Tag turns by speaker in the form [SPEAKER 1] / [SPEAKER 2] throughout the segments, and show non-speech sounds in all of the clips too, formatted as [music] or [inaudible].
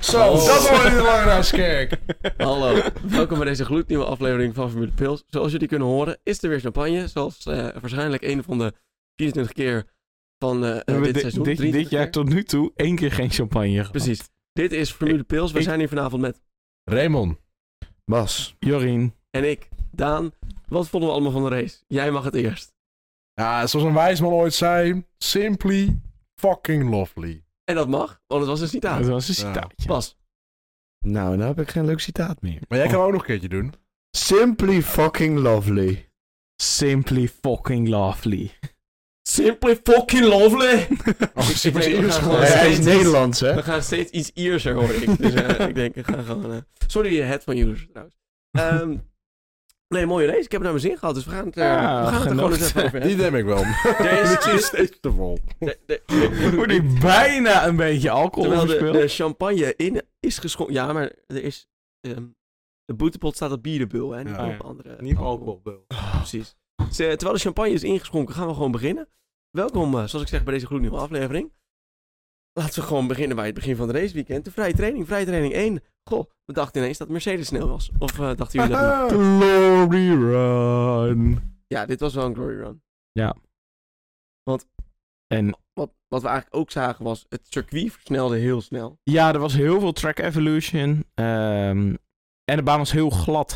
[SPEAKER 1] Zo, dat hoor je in de Lange Rijskerk.
[SPEAKER 2] Hallo, welkom bij deze gloednieuwe aflevering van Formule Pils. Zoals jullie kunnen horen is er weer champagne, zoals eh, waarschijnlijk een van de 24 keer van eh,
[SPEAKER 3] We hebben
[SPEAKER 2] dit
[SPEAKER 3] di-
[SPEAKER 2] seizoen.
[SPEAKER 3] dit, dit
[SPEAKER 2] 23
[SPEAKER 3] jaar
[SPEAKER 2] keer.
[SPEAKER 3] tot nu toe één keer geen champagne gehad.
[SPEAKER 2] Precies. Dit is Formule Pils, we
[SPEAKER 3] ik-
[SPEAKER 2] zijn hier vanavond met
[SPEAKER 1] Raymond. Bas.
[SPEAKER 3] Jorien.
[SPEAKER 2] en ik, Daan. Wat vonden we allemaal van de race? Jij mag het eerst.
[SPEAKER 1] Ja, zoals een wijsman ooit zei, simply fucking lovely.
[SPEAKER 2] En dat mag, want het was een
[SPEAKER 3] Dat
[SPEAKER 2] citaat.
[SPEAKER 3] was een
[SPEAKER 1] Ja.
[SPEAKER 3] citaatje.
[SPEAKER 2] Pas.
[SPEAKER 4] Nou, nou heb ik geen leuk citaat meer.
[SPEAKER 1] Maar
[SPEAKER 3] Oh,
[SPEAKER 1] jij kan ook nog een keertje doen.
[SPEAKER 4] Simply fucking lovely.
[SPEAKER 3] Simply fucking lovely.
[SPEAKER 2] Simply fucking lovely!
[SPEAKER 1] Oh,
[SPEAKER 2] Ik- ik
[SPEAKER 1] simply
[SPEAKER 2] weet-
[SPEAKER 1] Iers
[SPEAKER 2] we gaan
[SPEAKER 1] gewoon.
[SPEAKER 2] gewoon-
[SPEAKER 4] hij is
[SPEAKER 2] steeds-
[SPEAKER 4] Nederlands, hè?
[SPEAKER 2] We gaan steeds iets Ierser, hoor ik. Dus eh, ik denk, ik ga gewoon... eh, Sorry, het van jullie trouwens. Ehm, nee, mooie race. Ik heb het naar mijn zin gehad, dus we gaan het, eh,
[SPEAKER 3] Ja,
[SPEAKER 2] we gaan het er gewoon
[SPEAKER 3] genoeg.
[SPEAKER 2] eens even over
[SPEAKER 1] Die
[SPEAKER 2] hebben.
[SPEAKER 1] neem ik wel.
[SPEAKER 2] Er is-
[SPEAKER 1] Het is steeds te vol.
[SPEAKER 2] De- de- de-
[SPEAKER 3] Moet ik bijna een beetje alcohol
[SPEAKER 2] Terwijl de,
[SPEAKER 3] verspild?
[SPEAKER 2] de champagne in is geschonken... Ja, maar er is... ehm, de boetepot staat op bierenbul, hè. Niet
[SPEAKER 1] Ja.
[SPEAKER 2] op andere...
[SPEAKER 1] alcohol.
[SPEAKER 2] Precies. Dus, eh, terwijl de champagne is ingeschonken, gaan we gewoon beginnen. Welkom, eh, zoals ik zeg, bij deze gloednieuwe aflevering. Laten we gewoon beginnen bij het begin van de raceweekend. De vrije training, vrije training 1. Goh, we dachten ineens dat Mercedes snel was. Of eh, dachten jullie dat
[SPEAKER 1] [laughs]
[SPEAKER 2] niet?
[SPEAKER 3] Glory run.
[SPEAKER 2] Ja, dit was wel een glory run.
[SPEAKER 3] En
[SPEAKER 2] Wat, wat we eigenlijk ook zagen was, het circuit versnelde heel snel.
[SPEAKER 3] ja, er was heel veel track evolution. ehm, en de baan was heel glad.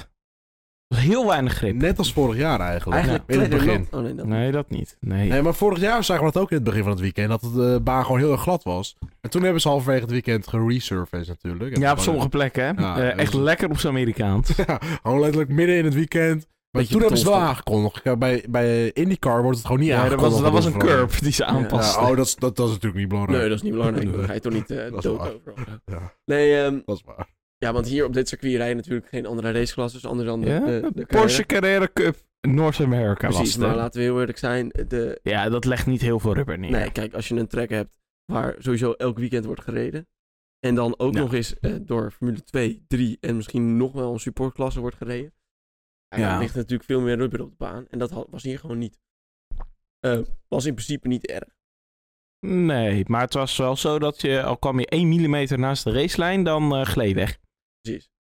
[SPEAKER 3] Er was heel weinig grip.
[SPEAKER 1] Net als vorig jaar eigenlijk.
[SPEAKER 2] Eigenlijk
[SPEAKER 1] in het
[SPEAKER 2] kleddernat.
[SPEAKER 1] begin.
[SPEAKER 2] Oh nee, dat
[SPEAKER 3] Nee, dat niet. Nee.
[SPEAKER 1] Nee, maar vorig jaar zagen we dat ook in het begin van het weekend. Dat de baan gewoon heel erg glad was. En toen hebben ze halverwege het weekend geresurfaced natuurlijk. En
[SPEAKER 3] Ja, op
[SPEAKER 1] gewoon-
[SPEAKER 3] sommige plekken. hè.
[SPEAKER 1] Ja,
[SPEAKER 3] Eh,
[SPEAKER 1] dat
[SPEAKER 3] echt
[SPEAKER 1] is-
[SPEAKER 3] lekker op zijn Amerikaans.
[SPEAKER 1] [laughs] Ja, gewoon letterlijk midden in het weekend. Maar
[SPEAKER 2] Beetje
[SPEAKER 1] toen hebben ze het wel
[SPEAKER 2] betonstof.
[SPEAKER 1] aangekondigd. Ja, bij, bij IndyCar wordt het gewoon niet
[SPEAKER 3] Ja, dat
[SPEAKER 1] aangekondigd.
[SPEAKER 3] was, dat was een
[SPEAKER 1] overal.
[SPEAKER 3] curve die ze aanpaste.
[SPEAKER 1] Ja, oh, dat, is- dat, dat is natuurlijk niet belangrijk.
[SPEAKER 2] Nee, dat is niet belangrijk. Dan ga je toch niet eh,
[SPEAKER 1] Dat is
[SPEAKER 2] dood
[SPEAKER 1] waar.
[SPEAKER 2] over. of zo.
[SPEAKER 1] Ja.
[SPEAKER 2] Nee, ehm,
[SPEAKER 1] Dat is waar.
[SPEAKER 2] ja, want hier op dit circuit rijden natuurlijk geen andere raceklasses. Anders dan de,
[SPEAKER 3] Ja,
[SPEAKER 2] de, de
[SPEAKER 3] Porsche Carrera Cup North America
[SPEAKER 2] Precies,
[SPEAKER 3] was
[SPEAKER 2] maar
[SPEAKER 3] het. hè.
[SPEAKER 2] laten we heel eerlijk zijn. De,
[SPEAKER 3] Ja, dat legt niet heel veel rubber neer.
[SPEAKER 2] Nee, kijk, als je een track hebt waar sowieso elk weekend wordt gereden. En dan ook
[SPEAKER 3] Ja.
[SPEAKER 2] nog eens eh, door Formule 2, 3 en misschien nog wel een supportklasse wordt gereden. En
[SPEAKER 3] Ja.
[SPEAKER 2] dan ligt natuurlijk veel meer rubber op de baan. En dat had- was hier gewoon niet. Eh, was in principe niet erg.
[SPEAKER 3] Nee, maar het was wel zo dat je, al kwam je 1 mm naast de racelijn, dan eh gleed weg.
[SPEAKER 2] Precies.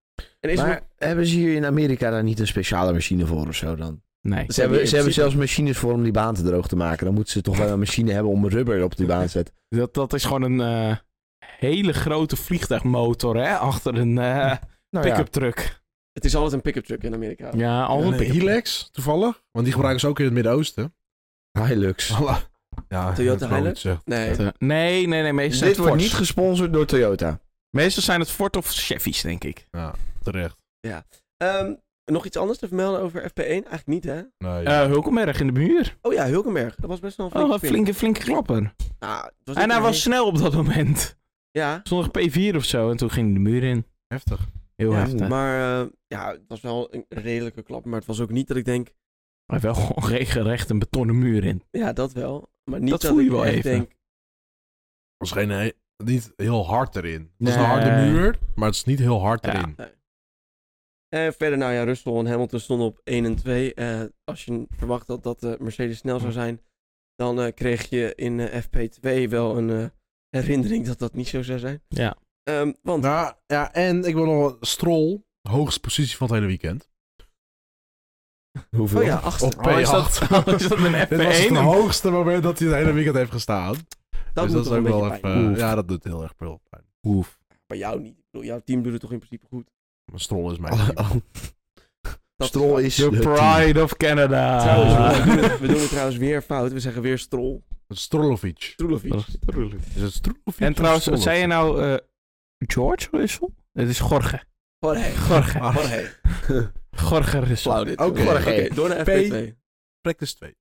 [SPEAKER 2] En is er nog-
[SPEAKER 4] Maar hebben ze hier in Amerika daar niet een speciale machine voor of zo dan?
[SPEAKER 3] Nee.
[SPEAKER 4] Ze
[SPEAKER 2] hebben
[SPEAKER 4] hebben,
[SPEAKER 2] in
[SPEAKER 4] ze hebben
[SPEAKER 2] principe-
[SPEAKER 4] zelfs machines voor om die baan te droog te maken. Dan moeten ze toch wel een machine hebben om rubber op die baan te zetten.
[SPEAKER 3] Dat, dat is gewoon een eh, hele grote vliegtuigmotor, hè? Achter een eh, [laughs]
[SPEAKER 4] Nou ja,
[SPEAKER 3] pick-up truck.
[SPEAKER 2] het is altijd een pick-up truck in Amerika.
[SPEAKER 3] Ja, al een
[SPEAKER 1] En, eh,
[SPEAKER 3] pick-up truck.
[SPEAKER 1] Hilux, toevallig. Want die gebruiken ze ook in het Midden-Oosten.
[SPEAKER 3] Oh,
[SPEAKER 4] Hilux.
[SPEAKER 1] Voilà. Ja,
[SPEAKER 2] Toyota
[SPEAKER 1] dat is wel
[SPEAKER 2] Hilux?
[SPEAKER 1] iets, zeg.
[SPEAKER 2] Nee,
[SPEAKER 3] Eh, Nee, nee, nee. Meestal, zijn
[SPEAKER 4] Dit
[SPEAKER 3] het
[SPEAKER 4] wordt niet
[SPEAKER 3] Fords.
[SPEAKER 4] gesponsord door Toyota.
[SPEAKER 3] meestal zijn het Ford of Chevy's, denk ik.
[SPEAKER 1] Ja, terecht.
[SPEAKER 2] Ehm, nog iets anders te vermelden over FP1? Eigenlijk niet, hè?
[SPEAKER 1] Nee.
[SPEAKER 3] Eh Hulkenberg in de muur.
[SPEAKER 2] Oh ja, Hulkenberg. Dat was best wel een
[SPEAKER 3] Oh,
[SPEAKER 2] flinke
[SPEAKER 3] een
[SPEAKER 2] spin.
[SPEAKER 3] flinke, flinke klapper.
[SPEAKER 2] Nou, het was
[SPEAKER 3] En
[SPEAKER 2] niet
[SPEAKER 3] hij was
[SPEAKER 2] een-
[SPEAKER 3] snel op dat moment.
[SPEAKER 2] Ja,
[SPEAKER 3] Zondag P4 of zo. En toen ging hij de muur in.
[SPEAKER 1] Heftig.
[SPEAKER 3] Heel
[SPEAKER 2] Ja,
[SPEAKER 3] heftig. Maar...
[SPEAKER 2] maar eh, ja, het was wel een redelijke klap. Maar het was ook niet dat ik denk,
[SPEAKER 3] Hij heeft wel gewoon [laughs] regelrecht een betonnen muur in.
[SPEAKER 2] ja, dat wel. Maar niet dat,
[SPEAKER 3] Dat voel je
[SPEAKER 2] ik
[SPEAKER 3] wel
[SPEAKER 2] echt
[SPEAKER 3] even.
[SPEAKER 2] denk,
[SPEAKER 1] Dat is geen, he- niet heel hard erin. Het is een
[SPEAKER 3] Nee.
[SPEAKER 1] harde muur, maar het is niet heel hard
[SPEAKER 3] Ja.
[SPEAKER 1] erin.
[SPEAKER 2] Eh, verder, nou ja, Russell en Hamilton stonden op 1 en 2. Eh, als je verwacht had dat de Mercedes snel
[SPEAKER 3] Hm.
[SPEAKER 2] zou zijn, dan eh, kreeg je in eh, FP2 wel een eh, herinnering dat dat niet zo zou zijn.
[SPEAKER 3] Ja.
[SPEAKER 2] Ehm, want
[SPEAKER 1] Nou, ja, en ik wil nog wel- Stroll, hoogste positie van het hele weekend.
[SPEAKER 4] Hoeveel?
[SPEAKER 2] Oh ja, achtste.
[SPEAKER 1] Op P8.
[SPEAKER 3] Oh, is [laughs] dat-
[SPEAKER 1] [laughs]
[SPEAKER 3] oh, is dat een
[SPEAKER 1] Dit was het
[SPEAKER 3] FP1?
[SPEAKER 1] hoogste moment dat hij het hele weekend heeft gestaan.
[SPEAKER 2] dat
[SPEAKER 1] dus
[SPEAKER 2] moet
[SPEAKER 1] dat
[SPEAKER 2] toch
[SPEAKER 1] is
[SPEAKER 2] een
[SPEAKER 1] ook wel
[SPEAKER 2] beetje pijn
[SPEAKER 1] even... eh,
[SPEAKER 2] doen.
[SPEAKER 3] Oef.
[SPEAKER 1] Ja, dat doet heel erg veel pijn.
[SPEAKER 3] Hoef.
[SPEAKER 2] Bij jou niet. Ik bedoel, jouw team doet het toch in principe goed.
[SPEAKER 1] Maar Stroll
[SPEAKER 4] [laughs]
[SPEAKER 1] is mijn
[SPEAKER 4] Oh,
[SPEAKER 1] team.
[SPEAKER 4] oh.
[SPEAKER 2] Dat
[SPEAKER 4] Stroll is eh,
[SPEAKER 3] The
[SPEAKER 4] het team.
[SPEAKER 3] Pride of Canada.
[SPEAKER 2] Trouwens, [laughs] we, doen het, we doen het trouwens weer fout. We zeggen weer Stroll.
[SPEAKER 1] Strolovic.
[SPEAKER 4] [laughs]
[SPEAKER 2] Stroelovic.
[SPEAKER 1] Is het Strolovic?
[SPEAKER 3] En
[SPEAKER 1] of
[SPEAKER 3] trouwens, wat zei je
[SPEAKER 1] Strolovic?
[SPEAKER 3] nou? eh, George Russell? Het is Gorge.
[SPEAKER 2] Jorge.
[SPEAKER 3] Gorge.
[SPEAKER 2] Jorge.
[SPEAKER 3] Gorge Russell.
[SPEAKER 2] Flauw dit.
[SPEAKER 1] Oké.
[SPEAKER 2] Jorge.
[SPEAKER 4] Jorge.
[SPEAKER 2] Oké, door naar FP2.
[SPEAKER 3] nou?
[SPEAKER 1] Practice 2.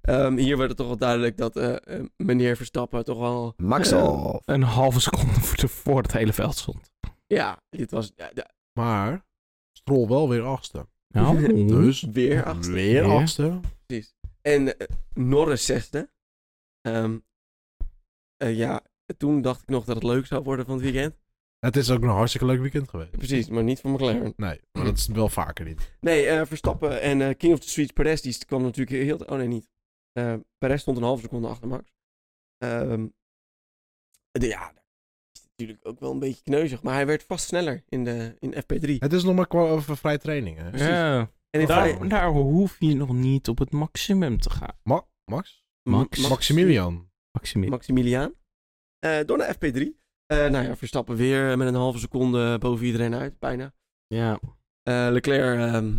[SPEAKER 2] Ehm, hier werd het toch wel duidelijk dat eh, eh, meneer Verstappen toch wel...
[SPEAKER 4] Max
[SPEAKER 2] Ja.
[SPEAKER 4] al.
[SPEAKER 3] Een halve seconde voor, de- voor het hele veld stond.
[SPEAKER 2] Ja, dit was ja, ja,
[SPEAKER 1] Maar Stroll wel weer achtste. [laughs]
[SPEAKER 3] Nou, [laughs]
[SPEAKER 1] Dus
[SPEAKER 2] weer achter.
[SPEAKER 1] weer
[SPEAKER 3] Ja.
[SPEAKER 1] achtste.
[SPEAKER 2] En eh, Norris zesde. Ehm, eh, ja, toen dacht ik nog dat het leuk zou worden van het weekend.
[SPEAKER 1] Het is ook een hartstikke leuk weekend geweest.
[SPEAKER 2] Precies, maar niet van McLaren.
[SPEAKER 1] Nee, maar dat is wel vaker niet.
[SPEAKER 2] Nee, eh, Verstappen en eh, King of the Streets Perez, die kwam natuurlijk heel... Oh nee, niet. Eh Perez stond een halve seconde achter Max. Ehm, de- ja, natuurlijk ook wel een beetje kneuzig. Maar hij werd vast sneller in, de, in FP3.
[SPEAKER 1] Het is nog maar qua over vrije training, hè?
[SPEAKER 3] Ja,
[SPEAKER 2] En in vrij-
[SPEAKER 3] daar, daar hoef je nog niet op het maximum te gaan.
[SPEAKER 1] Ma- Max?
[SPEAKER 3] Max.
[SPEAKER 2] Ma-
[SPEAKER 1] Maximilian.
[SPEAKER 3] Maximum.
[SPEAKER 2] Maximiliaan. Eh, door naar FP3. Eh, nou ja, Verstappen weer met een halve seconde boven iedereen uit, bijna.
[SPEAKER 3] ja.
[SPEAKER 2] Eh, Leclerc, ehm,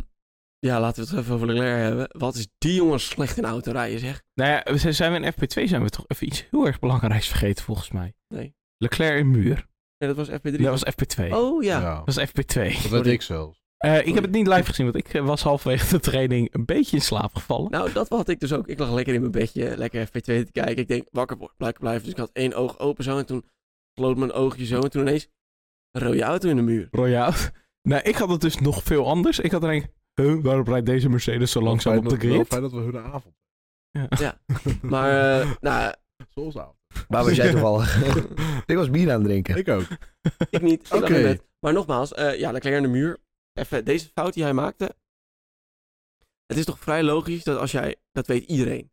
[SPEAKER 2] ja, laten we het even over Leclerc hebben. Wat is die jongen slecht in autorijden, zeg.
[SPEAKER 3] Nou ja, we zijn- zijn we in FP2 zijn we toch even iets heel erg belangrijks vergeten volgens mij.
[SPEAKER 2] Nee.
[SPEAKER 3] Leclerc in muur.
[SPEAKER 2] Nee, dat was FP3.
[SPEAKER 3] Dat was FP2.
[SPEAKER 2] Oh ja.
[SPEAKER 3] Dat was FP2.
[SPEAKER 1] Dat weet
[SPEAKER 2] Sorry.
[SPEAKER 1] ik zelfs.
[SPEAKER 3] Eh, ik heb het niet live gezien, want ik eh, was halverwege de training een beetje in slaap gevallen.
[SPEAKER 2] Nou, dat had ik dus ook. Ik lag lekker in mijn bedje, lekker FP2 te kijken. Ik denk, wakker worden, blijven blijven. Dus ik had één oog open zo en toen sloot mijn oogje zo. En toen ineens een rode auto in de muur.
[SPEAKER 3] Royaal. [laughs] Nou, ik had het dus nog veel anders. Ik had er denk, huh, waarom rijdt deze Mercedes zo langzaam
[SPEAKER 1] Wel
[SPEAKER 3] op de
[SPEAKER 1] fijn dat- wel
[SPEAKER 3] grid?
[SPEAKER 1] Fijn dat we hun avond.
[SPEAKER 3] Ja.
[SPEAKER 2] Maar,
[SPEAKER 3] [laughs]
[SPEAKER 2] eh, nou,
[SPEAKER 1] Zoals avond.
[SPEAKER 4] Waar was jij toevallig? [laughs]
[SPEAKER 2] eh,
[SPEAKER 4] ik was bier aan het drinken.
[SPEAKER 1] Ik ook.
[SPEAKER 2] ik niet. Ik lag
[SPEAKER 1] Oké.
[SPEAKER 2] in bed. Maar nogmaals, eh ja, Leclerc in de muur. Even deze fout die hij maakte. Het is toch vrij logisch dat als jij, dat weet iedereen.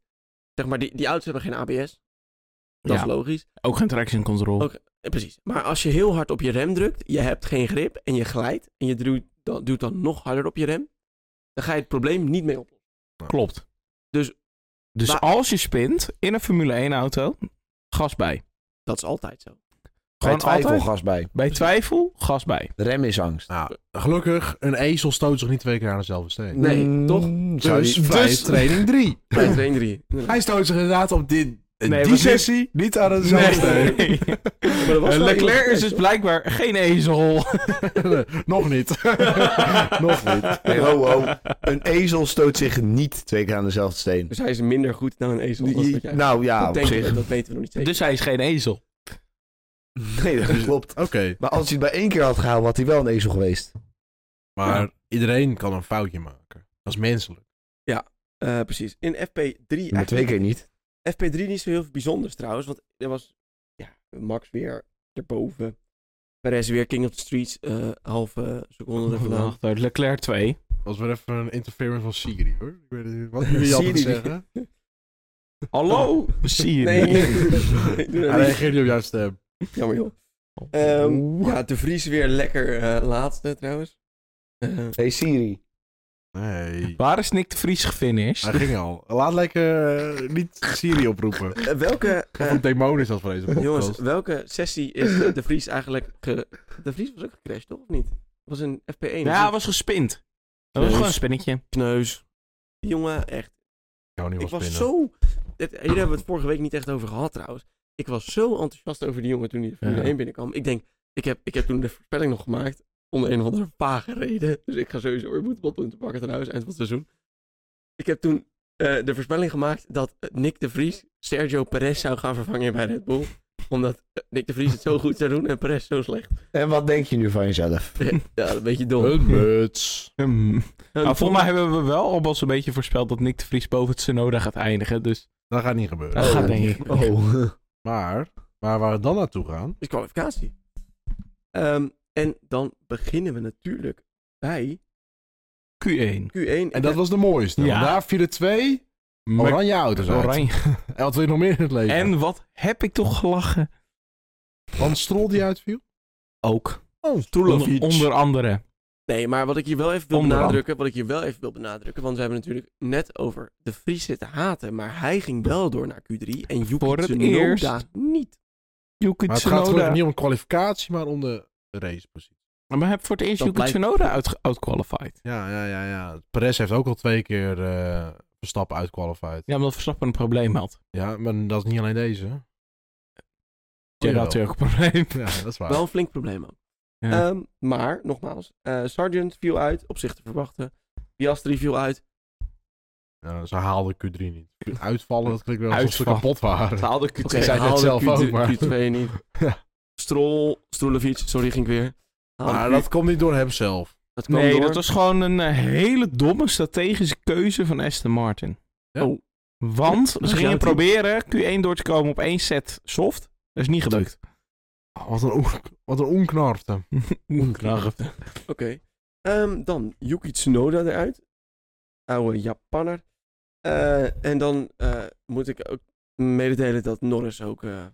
[SPEAKER 2] Zeg maar, die, die auto's hebben geen ABS. Dat
[SPEAKER 3] Ja.
[SPEAKER 2] is logisch.
[SPEAKER 3] [laughs] Ook geen traction control.
[SPEAKER 2] Ook- Eh, precies. Maar als je heel hard op je rem drukt, je hebt geen grip en je glijdt en je duwt dan, duwt dan nog harder op je rem, dan ga je het probleem niet mee oplossen.
[SPEAKER 3] Klopt.
[SPEAKER 2] Dus-
[SPEAKER 3] dus
[SPEAKER 2] Maar-
[SPEAKER 3] als je spint in een Formule 1 auto, gas bij.
[SPEAKER 2] Dat is altijd zo.
[SPEAKER 4] Bij
[SPEAKER 3] Gewoon
[SPEAKER 4] twijfel
[SPEAKER 3] altijd.
[SPEAKER 4] gas bij.
[SPEAKER 3] Bij twijfel, gas bij.
[SPEAKER 4] De rem is angst.
[SPEAKER 1] Nou, gelukkig, een ezel stoot zich niet twee keer aan dezelfde steen.
[SPEAKER 2] Nee,
[SPEAKER 4] Mm,
[SPEAKER 2] toch?
[SPEAKER 4] zou
[SPEAKER 1] Dus
[SPEAKER 4] je-
[SPEAKER 1] vrije
[SPEAKER 3] dus-
[SPEAKER 1] training 3.
[SPEAKER 2] Bij train 3.
[SPEAKER 1] Hij stoot zich inderdaad op dit,
[SPEAKER 3] Nee,
[SPEAKER 1] die
[SPEAKER 3] was niet-
[SPEAKER 1] sessie [laughs] niet, aan dezelfde steen.
[SPEAKER 3] [laughs]
[SPEAKER 2] dat was
[SPEAKER 3] Eh,
[SPEAKER 2] wel
[SPEAKER 3] Leclerc
[SPEAKER 2] iemand-
[SPEAKER 3] is dus blijkbaar geen ezel.
[SPEAKER 1] Nog niet.
[SPEAKER 3] [laughs]
[SPEAKER 1] Nog niet.
[SPEAKER 4] Hey, ho, ho. Een e- ezel stoot zich niet twee keer aan dezelfde steen.
[SPEAKER 2] Dus hij is minder goed dan een ezel. Dat, is wat jij-
[SPEAKER 4] Nou ja,
[SPEAKER 2] dat,
[SPEAKER 4] op
[SPEAKER 2] denk ik,
[SPEAKER 4] zich.
[SPEAKER 2] dat weten we nog niet zeker.
[SPEAKER 3] Dus hij is geen ezel.
[SPEAKER 4] [laughs] Nee, dat klopt.
[SPEAKER 1] Oké,
[SPEAKER 4] Maar als hij het bij één keer had gehouden, had hij wel een ezel geweest.
[SPEAKER 1] maar iedereen kan een foutje maken. Dat is menselijk.
[SPEAKER 2] Eh, precies. In FP3...
[SPEAKER 4] Maar twee keer niet.
[SPEAKER 2] FP3 niet zo heel veel bijzonders trouwens. Want er was ja, Max weer erboven. Perez weer King of the Streets. eh halve seconde er
[SPEAKER 3] [laughs]
[SPEAKER 2] vandaan.
[SPEAKER 3] Achter Leclerc 2.
[SPEAKER 1] Dat was weer even een interference van Siri, hoor. Ik weet het niet. Wat jullie altijd
[SPEAKER 2] Siri.
[SPEAKER 1] zeggen?
[SPEAKER 3] Hallo, Siri.
[SPEAKER 2] Nee, nee, [laughs] nee, doe
[SPEAKER 1] Hij
[SPEAKER 2] dat niet.
[SPEAKER 1] reageert niet op jouw stem.
[SPEAKER 2] Jammer joh. Ehm, ja, de Vries weer lekker eh, laatste trouwens. Eh,
[SPEAKER 4] Hey Siri.
[SPEAKER 1] Nee.
[SPEAKER 3] Waar is Nick de Vries gefinished?
[SPEAKER 1] Hij ging al. Laat lekker eh, niet Siri oproepen.
[SPEAKER 2] eh, welke...
[SPEAKER 1] Wat
[SPEAKER 2] eh,
[SPEAKER 1] een demon is dat voor deze podcast.
[SPEAKER 2] Jongens, welke sessie is de, de Vries eigenlijk ge... De Vries was ook gecrashed, toch? Of niet? was een FP1.
[SPEAKER 3] Ja, hij was gespind. Dat was
[SPEAKER 2] Nee.
[SPEAKER 3] gewoon een spinnetje.
[SPEAKER 2] kneus. Die jongen, echt.
[SPEAKER 1] ik hou niet
[SPEAKER 2] Ik
[SPEAKER 1] van
[SPEAKER 2] was
[SPEAKER 1] spinnen.
[SPEAKER 2] zo... Dit, hier hebben we het vorige week niet echt over gehad trouwens. Ik was zo enthousiast over die jongen toen hij de Formule
[SPEAKER 3] Ja.
[SPEAKER 2] 1 binnenkwam. Ik denk, ik heb, ik heb toen de voorspelling nog gemaakt. Onder een of andere vage reden. Dus ik ga sowieso weer moeten punten pakken trouwens, eind van het seizoen. Ik heb toen eh, de voorspelling gemaakt dat eh, Nick de Vries Sergio Perez zou gaan vervangen bij Red Bull. Omdat eh, Nick de Vries het
[SPEAKER 3] [laughs]
[SPEAKER 2] zo goed zou doen en Perez zo slecht.
[SPEAKER 4] En wat denk je nu van jezelf?
[SPEAKER 2] Ja, een beetje dom.
[SPEAKER 1] Een muts.
[SPEAKER 3] Hmm.
[SPEAKER 2] Een
[SPEAKER 3] Maar
[SPEAKER 2] vol-
[SPEAKER 3] volgens mij hebben we wel al een beetje voorspeld dat Nick de Vries boven het Sonoda gaat eindigen. Dus
[SPEAKER 1] Dat gaat niet gebeuren.
[SPEAKER 3] dat
[SPEAKER 4] Oh.
[SPEAKER 3] gaat denk ik.
[SPEAKER 4] Oh. [laughs]
[SPEAKER 1] Maar, maar waar we dan naartoe gaan...
[SPEAKER 2] is kwalificatie. Ehm, en dan beginnen we natuurlijk bij
[SPEAKER 3] Q1.
[SPEAKER 2] Q1. Ik
[SPEAKER 1] En dat
[SPEAKER 2] heb-
[SPEAKER 1] was de mooiste.
[SPEAKER 3] Ja.
[SPEAKER 1] Want Daar vielen twee
[SPEAKER 3] Mac-
[SPEAKER 1] oranje auto's uit.
[SPEAKER 3] Oranje.
[SPEAKER 1] En wat wil je nog meer in het leven?
[SPEAKER 3] En wat heb ik toch gelachen?
[SPEAKER 1] Want Strol die uitviel?
[SPEAKER 3] Ook.
[SPEAKER 1] Oh,
[SPEAKER 3] Onder, onder andere.
[SPEAKER 2] Nee, maar wat ik hier wel even wil
[SPEAKER 3] Onderhand.
[SPEAKER 2] benadrukken, wat ik hier wel even wil benadrukken, want we hebben natuurlijk net over de Vries zitten haten, maar hij ging wel door naar Q3 en Yuki
[SPEAKER 3] Voor het
[SPEAKER 2] Tsunoda
[SPEAKER 3] eerst.
[SPEAKER 2] niet.
[SPEAKER 3] Yuki
[SPEAKER 1] Maar het gaat
[SPEAKER 3] Tsunoda.
[SPEAKER 1] gelukkig niet om een kwalificatie, maar om de racepositie.
[SPEAKER 3] Maar hij heeft voor het eerst
[SPEAKER 2] Dat
[SPEAKER 3] Yuki
[SPEAKER 2] blijkt-
[SPEAKER 3] Tsunoda uitge- outqualified.
[SPEAKER 1] Ja, ja, ja, ja. Perez heeft ook al twee keer eh Verstappen uitqualified. Ja.
[SPEAKER 3] Ja, omdat Verstappen een probleem had.
[SPEAKER 1] maar dat is niet alleen deze.
[SPEAKER 3] Jij
[SPEAKER 1] jawel.
[SPEAKER 3] had natuurlijk ook een probleem.
[SPEAKER 1] Ja, dat is waar.
[SPEAKER 2] Wel een flink probleem ook.
[SPEAKER 3] Ja.
[SPEAKER 2] Ehm, maar, nogmaals, eh Sargent viel uit, op zich te verwachten. Piastri viel uit.
[SPEAKER 1] Ja, ze haalden Q3 niet. Uitvallen, dat klinkt wel alsof ze
[SPEAKER 3] Uitvallen.
[SPEAKER 1] kapot waren.
[SPEAKER 3] haalde Q2.
[SPEAKER 2] Oké,
[SPEAKER 1] zei net
[SPEAKER 2] haalde
[SPEAKER 1] zelf ook, maar-
[SPEAKER 2] Q2 niet.
[SPEAKER 1] Ja.
[SPEAKER 2] Strol, Strolevic, sorry, ging ik weer. Haalde
[SPEAKER 1] Maar
[SPEAKER 2] Q-
[SPEAKER 1] dat komt niet door hemzelf.
[SPEAKER 2] dat kwam
[SPEAKER 3] Nee,
[SPEAKER 2] door.
[SPEAKER 3] dat was gewoon een eh, hele domme strategische keuze van Aston Martin.
[SPEAKER 1] Ja.
[SPEAKER 2] Oh.
[SPEAKER 3] Want
[SPEAKER 2] Ja,
[SPEAKER 3] ze
[SPEAKER 2] ja,
[SPEAKER 3] gingen
[SPEAKER 2] die-
[SPEAKER 3] proberen Q1 door te komen op één set soft. Dat is niet gelukt.
[SPEAKER 1] Oh, wat een, on- wat een onknarfte.
[SPEAKER 3] [laughs] Oekracht.
[SPEAKER 2] Oké. Ehm, dan Yuki Tsunoda eruit. Oude Japanner. Eh, en dan eh, moet ik ook mededelen dat Norris ook eh,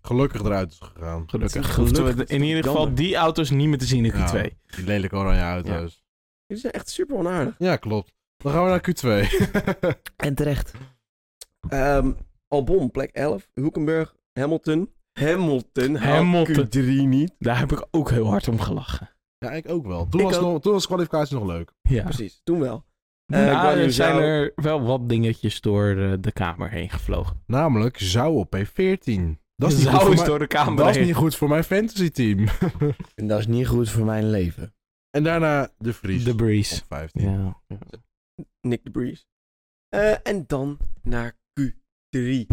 [SPEAKER 1] gelukkig eruit is gegaan.
[SPEAKER 3] Gelukkig.
[SPEAKER 2] Gelukkig.
[SPEAKER 3] Hoefden we de- in ieder geval
[SPEAKER 2] Jammer.
[SPEAKER 3] die auto's niet meer te zien, die
[SPEAKER 1] Ja.
[SPEAKER 3] twee.
[SPEAKER 1] Die lelijke oranje auto's.
[SPEAKER 2] Jullie zijn echt super onaardig.
[SPEAKER 1] Ja, klopt. Dan gaan we naar Q2.
[SPEAKER 4] En terecht.
[SPEAKER 2] Ehm, Albon, plek 11. Hulkenberg, Hamilton. Hamilton,
[SPEAKER 3] Hamilton.
[SPEAKER 2] Hamilton. Q3 niet.
[SPEAKER 3] Daar heb ik ook heel hard om gelachen.
[SPEAKER 1] [laughs] ja, ik ook wel. Toen,
[SPEAKER 2] Ik
[SPEAKER 1] was,
[SPEAKER 2] ook.
[SPEAKER 1] Nog, toen was kwalificatie nog leuk.
[SPEAKER 3] Ja.
[SPEAKER 2] Precies, toen wel. Eh,
[SPEAKER 3] Nou,
[SPEAKER 2] Guan Yu
[SPEAKER 3] er zijn
[SPEAKER 2] Zhou.
[SPEAKER 3] er wel wat dingetjes door eh, de kamer heen gevlogen.
[SPEAKER 1] Namelijk Zou op P14. Dat is, niet goed,
[SPEAKER 3] Zou
[SPEAKER 1] voor
[SPEAKER 3] is
[SPEAKER 1] mijn-
[SPEAKER 3] door de kamer
[SPEAKER 1] dat is
[SPEAKER 3] heen.
[SPEAKER 1] niet goed voor mijn fantasy team. [laughs]
[SPEAKER 4] En dat is niet goed voor mijn leven.
[SPEAKER 1] en daarna de Vries.
[SPEAKER 3] De breeze.
[SPEAKER 1] op 15.
[SPEAKER 3] Ja.
[SPEAKER 2] Nick de Breeze. Eh, en dan naar Q3.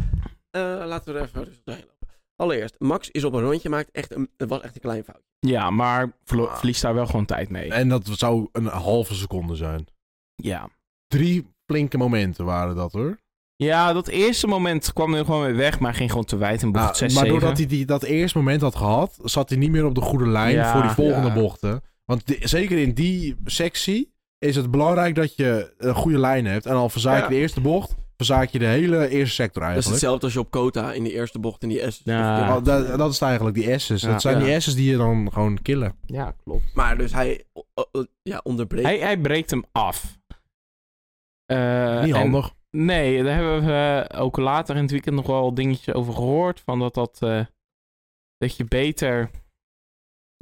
[SPEAKER 2] Eh, laten we er even rustig doorheen lopen. Allereerst, Max is op een rondje maakt. Echt een, het was echt een klein fout.
[SPEAKER 3] ja, maar verlo- verliest daar wel gewoon tijd mee.
[SPEAKER 1] En dat zou een halve seconde zijn.
[SPEAKER 3] Ja.
[SPEAKER 1] Drie flinke momenten waren dat hoor.
[SPEAKER 3] Ja, dat eerste moment kwam er gewoon weer weg, maar ging gewoon te wijd in bocht
[SPEAKER 1] Ah,
[SPEAKER 3] 6,
[SPEAKER 1] maar
[SPEAKER 3] 7.
[SPEAKER 1] doordat hij die, dat eerste moment had gehad, zat hij niet meer op de goede lijn
[SPEAKER 3] Ja,
[SPEAKER 1] voor die volgende
[SPEAKER 2] ja.
[SPEAKER 1] bochten. Want di- zeker in die sectie is het belangrijk dat je een goede lijn hebt. En al verzaak je
[SPEAKER 2] Ja.
[SPEAKER 1] de eerste bocht, verzaak je de hele eerste sector
[SPEAKER 2] Dat is
[SPEAKER 1] eigenlijk.
[SPEAKER 2] hetzelfde als je op Kota in de eerste bocht in die S.
[SPEAKER 3] Ja.
[SPEAKER 2] Ah,
[SPEAKER 1] Oh, dat, dat is het eigenlijk, die S's.
[SPEAKER 3] Ja.
[SPEAKER 1] dat zijn
[SPEAKER 2] Ja.
[SPEAKER 1] die S's die je dan gewoon killen.
[SPEAKER 3] Ja, klopt.
[SPEAKER 2] Maar dus hij o- o- o- ja, onderbreekt.
[SPEAKER 3] Hij, hij breekt hem af. Eh,
[SPEAKER 1] Niet
[SPEAKER 3] en-
[SPEAKER 1] handig.
[SPEAKER 3] nee, daar hebben we eh, ook later in het weekend nog wel dingetjes over gehoord. Van dat, dat, eh, dat je beter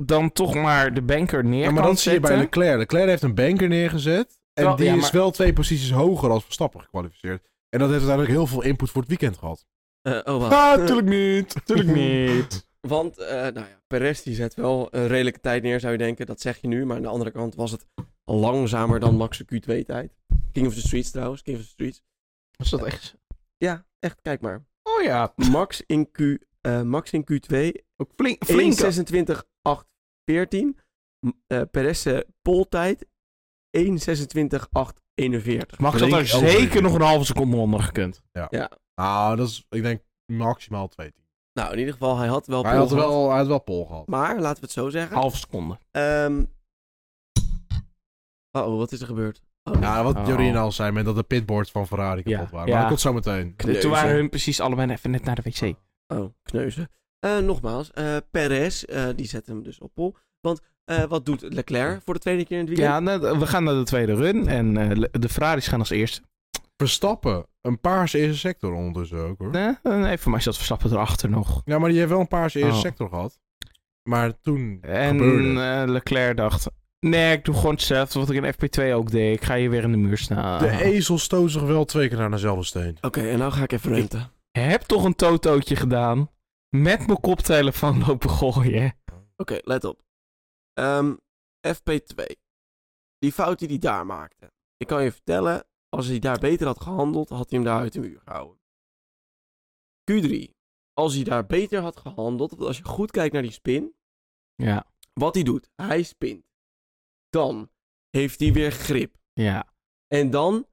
[SPEAKER 3] dan toch maar de banker neer
[SPEAKER 1] Ja, maar
[SPEAKER 3] kan
[SPEAKER 1] dat zie je bij
[SPEAKER 3] zetten.
[SPEAKER 1] Leclerc. Leclerc heeft een banker neergezet. En
[SPEAKER 3] Wel,
[SPEAKER 1] die
[SPEAKER 3] ja,
[SPEAKER 1] is
[SPEAKER 3] maar-
[SPEAKER 1] wel twee posities hoger als Verstappen gekwalificeerd. En dat heeft uiteindelijk heel veel input voor het weekend gehad.
[SPEAKER 2] Eh, oh, wacht.
[SPEAKER 3] Ah, tuurlijk niet.
[SPEAKER 1] [laughs]
[SPEAKER 3] Tuurlijk niet.
[SPEAKER 2] [laughs] Want, eh nou ja, Perez die zet wel een redelijke tijd neer, zou je denken. Dat zeg je nu. Maar aan de andere kant was het langzamer dan Max' Q2-tijd. King of the Streets trouwens. King of the Streets.
[SPEAKER 3] Was dat echt...
[SPEAKER 2] Ja, echt, kijk maar.
[SPEAKER 3] Oh ja,
[SPEAKER 2] Max in, Q, eh, Max in Q2
[SPEAKER 3] ook flink. flink
[SPEAKER 2] 126 814 eh Perez eh, poltijd 126 841
[SPEAKER 3] Max had daar
[SPEAKER 1] flink overdreven.
[SPEAKER 3] zeker nog een halve seconde onder gekund.
[SPEAKER 1] Nou, dat is, ik denk, maximaal twee. tienden.
[SPEAKER 2] Nou, in ieder geval, hij had wel
[SPEAKER 1] Maar Hij had,
[SPEAKER 2] pol gehad.
[SPEAKER 1] wel, hij had wel pol gehad.
[SPEAKER 2] Maar, laten we het zo zeggen.
[SPEAKER 3] Halve seconde.
[SPEAKER 2] Ehm Oh, wat is er gebeurd? Oh,
[SPEAKER 1] Ja, wat
[SPEAKER 3] Oh.
[SPEAKER 1] Jorien al zei, met dat de pitboards van Ferrari kapot
[SPEAKER 3] Ja.
[SPEAKER 1] waren. Maar
[SPEAKER 3] Ja.
[SPEAKER 1] dat komt zo meteen.
[SPEAKER 2] Kneuzen.
[SPEAKER 3] Toen waren hun precies allebei even net naar de wc.
[SPEAKER 2] Oh, kneuzen. Eh, nogmaals, eh Perez, eh, die zet hem dus op pol. Want eh, wat doet Leclerc voor de tweede keer in het weekend?
[SPEAKER 3] Ja, nou, we gaan naar de tweede run en eh, le- de Ferraris gaan als eerste.
[SPEAKER 1] Verstappen, een paarse eerste sector ondertussen ook hoor.
[SPEAKER 3] Nee, nee, Eh, voor mij zat Verstappen erachter nog.
[SPEAKER 1] Ja, maar die heeft wel een paarse eerste
[SPEAKER 3] Oh.
[SPEAKER 1] sector gehad. Maar toen
[SPEAKER 3] En
[SPEAKER 1] gebeurde het.
[SPEAKER 3] eh, Leclerc dacht, nee, ik doe gewoon hetzelfde wat ik in FP2 ook deed. Ik ga hier weer in de muur staan.
[SPEAKER 1] De
[SPEAKER 2] E-
[SPEAKER 1] ezel stoot zich wel twee keer naar dezelfde steen.
[SPEAKER 2] Oké, en nou ga ik even renten.
[SPEAKER 3] Heb toch een totootje gedaan. Met mijn koptelefoon lopen gooien.
[SPEAKER 2] Oké, let op. Ehm, FP2. Die fout die hij daar maakte. Ik kan je vertellen, als hij daar beter had gehandeld, had hij hem daar uit de muur gehouden. Q3. Als hij daar beter had gehandeld, want als je goed kijkt naar die spin,
[SPEAKER 3] Ja,
[SPEAKER 2] wat hij doet, hij spint. Dan heeft hij weer grip.
[SPEAKER 3] ja.
[SPEAKER 2] En dan